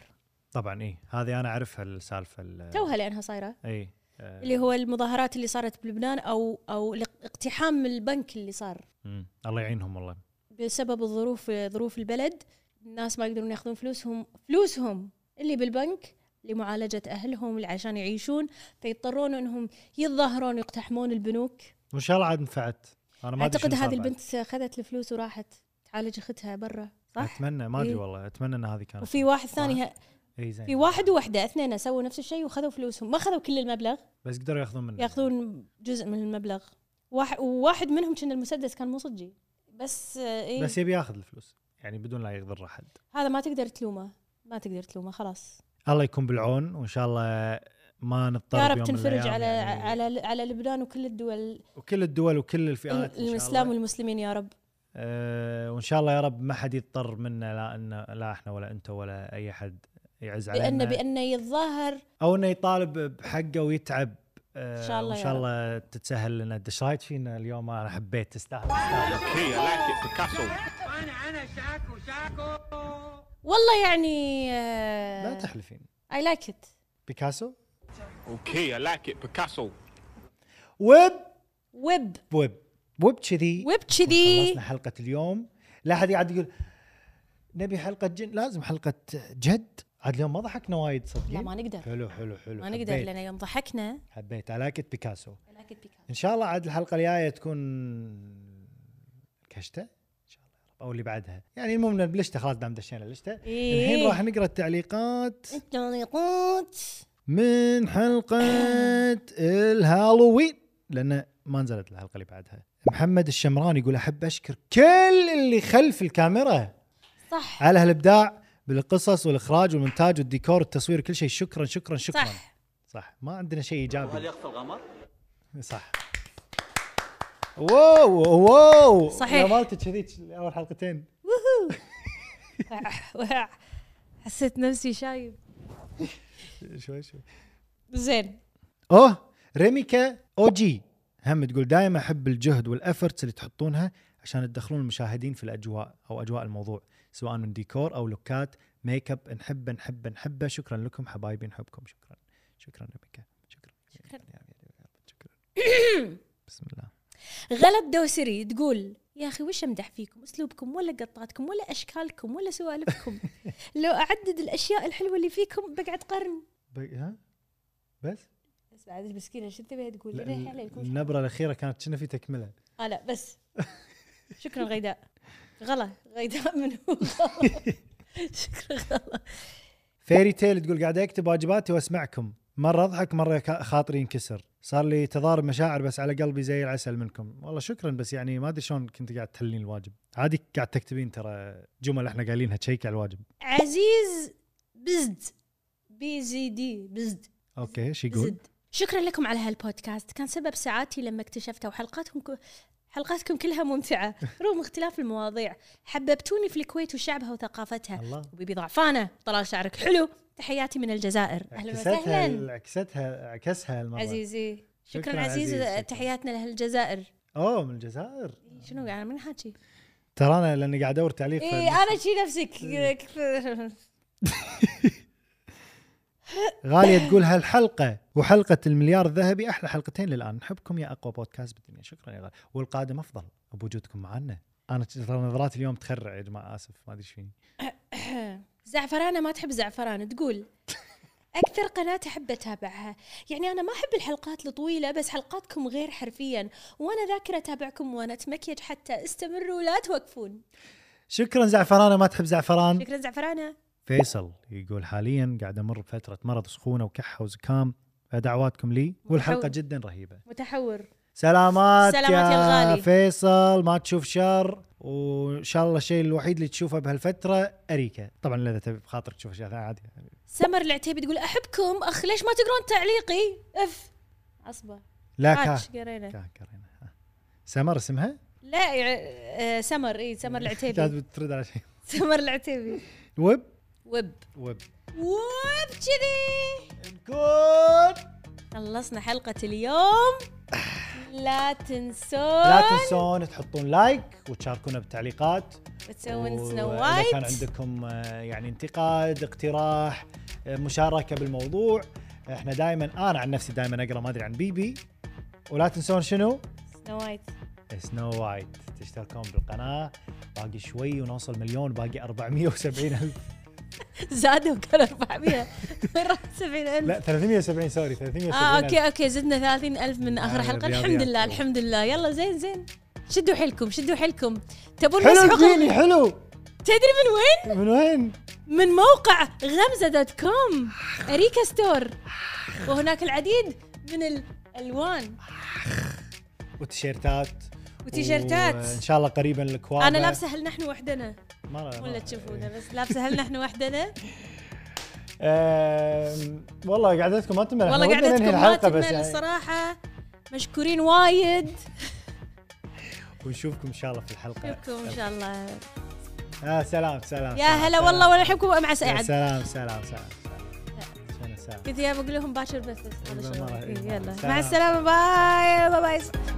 طبعا اي إيه. هذه انا اعرفها السالفه ال- إيه.
توها لانها صايره
اي
اللي هو المظاهرات اللي صارت بلبنان او او الاق- اقتحام البنك اللي صار
مم. الله يعينهم والله
بسبب الظروف ظروف البلد الناس ما يقدرون ياخذون فلوسهم فلوسهم اللي بالبنك لمعالجة أهلهم اللي عشان يعيشون فيضطرون أنهم يتظاهرون ويقتحمون البنوك
وان شاء الله عاد نفعت انا ما أدري
أعتقد
شنو صار
هذه
بعد.
البنت أخذت الفلوس وراحت تعالج أختها برا صح؟
اتمنى ما ادري
إي.
والله اتمنى ان هذه كانت
وفي واحد ثاني ه-
اي زين
في واحد وواحدة اثنين سووا نفس الشيء وخذوا فلوسهم ما خذوا كل المبلغ
بس قدروا ياخذون منه
ياخذون جزء من المبلغ واحد وواحد منهم كان المسدس كان مو صجي بس آه، إيه
بس يبي ياخذ الفلوس يعني بدون لا يضر احد
هذا ما تقدر تلومه ما تقدر تلومه خلاص
الله يكون بالعون وان شاء الله ما نضطر
يا رب
بيوم من
تنفرج
الأيام
على
يعني
على على لبنان وكل الدول
وكل الدول وكل الفئات إن شاء
الاسلام
الله.
والمسلمين يا رب
أه وان شاء الله يا رب ما حد يضطر منا لا إن لا احنا ولا انت ولا اي حد يعز علينا
بانه بانه يتظاهر
او انه يطالب بحقه ويتعب آه،
إن شاء الله
ان
يا
شاء الله تتسهل لنا الدش رايت فينا اليوم انا حبيت تستاهل تستاهل
هي لاكت بيكاسو
انا انا شاكو شاكو
والله يعني
لا تحلفين
اي لايك ات
بيكاسو
اوكي لاكت بيكاسو
ويب
ويب
ويب ويب كذي
ويب كذي
خلصنا حلقه اليوم لا احد قاعد يقول نبي حلقه جن لازم حلقه جد عاد اليوم ما ضحكنا وايد صدقين
لا ما نقدر
حلو حلو حلو
ما نقدر
حبيت-
لان يوم ضحكنا
حبيت علاقه بيكاسو
لايك ات بيكاسو
ان شاء الله عاد الحلقه الجايه تكون كشته ان شاء الله يا رب او اللي بعدها يعني المهم إن بالشتاء خلاص دام دشينا الشتاء
إيه.
الحين راح نقرا التعليقات
تعليقات
من حلقه الهالوين لان ما نزلت الحلقه اللي بعدها محمد الشمران يقول احب اشكر كل اللي خلف الكاميرا
صح
على هالابداع بالقصص والاخراج والمونتاج والديكور والتصوير كل شيء شكرا شكرا شكرا
صح
صح ما عندنا شيء ايجابي
وهل يخفى الغمر؟
صح واو واو
صحيح.
يا مالتي كذي اول حلقتين
حسيت نفسي شايب
شوي شوي
زين
اوه ريميكا او جي هم تقول دائما احب الجهد والافرتس اللي تحطونها عشان تدخلون المشاهدين في الاجواء او اجواء الموضوع سواء من ديكور او لوكات ميك اب نحب نحب نحبه شكرا لكم حبايبي نحبكم شكرا شكرا ريميكا شكرا شكرا شكرا بسم الله
غلط دوسري تقول يا اخي وش امدح فيكم اسلوبكم ولا قطاتكم ولا اشكالكم ولا سوالفكم لو اعدد الاشياء الحلوه اللي فيكم بقعد قرن
بق- ها بس
بس بعد مسكينه شو تبيها تقول
لا،
ريحي عليكم
النبره الاخيره كانت كنا في تكمله
اه لا بس شكرا غيداء غلا غيداء من هو شكرا غلا
فيري تيل تقول قاعد اكتب واجباتي واسمعكم مره اضحك مره كا- خاطري ينكسر صار لي تضارب مشاعر بس على قلبي زي العسل منكم والله شكرا بس يعني ما ادري شلون كنت قاعد تحلين الواجب عادي قاعد تكتبين ترى جمل احنا قايلينها تشيك على الواجب
عزيز بزد بي زي دي بزد
اوكي ايش يقول
زد شكرا لكم على هالبودكاست كان سبب سعادتي لما اكتشفته وحلقاتكم ك... حلقاتكم كلها ممتعة رغم اختلاف المواضيع حببتوني في الكويت وشعبها وثقافتها
الله
وبيبي ضعفانة طلال شعرك حلو تحياتي من الجزائر أهلا وسهلا
عكستها عكستها عكسها المره عزيز
عزيزي شكرا
شكراً
عزيز
عزيز، شكراً.
تحياتنا لأهل الجزائر
اوه من الجزائر
شنو انا من حاكي؟
ترى انا لاني قاعد ادور تعليق
اي انا شي نفسك
غاليه تقول هالحلقه وحلقه المليار الذهبي احلى حلقتين للان نحبكم يا اقوى بودكاست بالدنيا شكرا يا غاليه والقادم افضل بوجودكم معنا انا ترى نظرات اليوم تخرع يا جماعه اسف ما ادري ايش فيني
زعفرانه ما تحب زعفران تقول اكثر قناه احب اتابعها يعني انا ما احب الحلقات الطويله بس حلقاتكم غير حرفيا وانا ذاكره اتابعكم وانا اتمكيج حتى استمروا ولا توقفون
شكرا زعفرانه ما تحب زعفران
شكرا زعفرانه
فيصل يقول حاليا قاعد امر بفتره مرض سخونه وكحه وزكام فدعواتكم لي والحلقه
متحول.
جدا رهيبه
متحور
سلامات
سلامات يا الغالي.
فيصل ما تشوف شر وان شاء الله الشيء الوحيد اللي تشوفه بهالفتره اريكه طبعا اذا تبي بخاطرك تشوف اشياء ثانيه عادي
سمر العتيبي تقول احبكم اخ ليش ما تقرون تعليقي اف عصبه
لا كا
عاش قرينا
كا كرينا ها. سمر اسمها؟
لا يع- آه، سمر اي سمر العتيبي
كانت بترد على شيء
سمر العتيبي
ويب
وب
ويب
وب كذي
نكون
خلصنا حلقة اليوم لا تنسون
لا تنسون تحطون لايك وتشاركونا بالتعليقات
وتسوون سنو
وإذا كان
وايت
عندكم آه، يعني انتقاد اقتراح آه، مشاركه بالموضوع آه، احنا دائما انا عن نفسي دائما اقرا ما ادري عن بيبي ولا تنسون شنو
سنو وايت
سنو وايت تشتركون بالقناه باقي شوي ونوصل مليون باقي 470 الف
زادوا كان 400 وين راح 70000
لا 370 سوري 370
اه اوكي اوكي زدنا 30000 من اخر
آه،
حلقة
الرياضيات.
الحمد لله الحمد لله يلا زين زين شدوا حيلكم شدوا حيلكم تبون
حلو
نسحق
الجيني حلو
تدري من وين؟
من وين؟
من موقع غمزة دوت كوم أريكا ستور وهناك العديد من الألوان
وتيشيرتات
وتيشيرتات.
وان شاء الله قريبا الاكواب
أنا لابسة هل نحن وحدنا
ما- ما-
ولا تشوفونا بس لابسة هل نحن وحدنا
أم، والله قعدتكم ما تمل
والله
يعني
يعني. قعدتكم ما تمل الصراحة مشكورين وايد
ونشوفكم ان شاء الله في الحلقه
نشوفكم ان شاء الله
آه سلام سلام
يا
سلام،
هلا
سلام.
والله وانا احبكم مع
يا
سعد
سلام سلام سلام سلام. شنو سلام
قلت يا بقول لهم باكر بس بس هذا
ما راح-
شغلي. يلا
سلام.
مع السلامه باي باي باي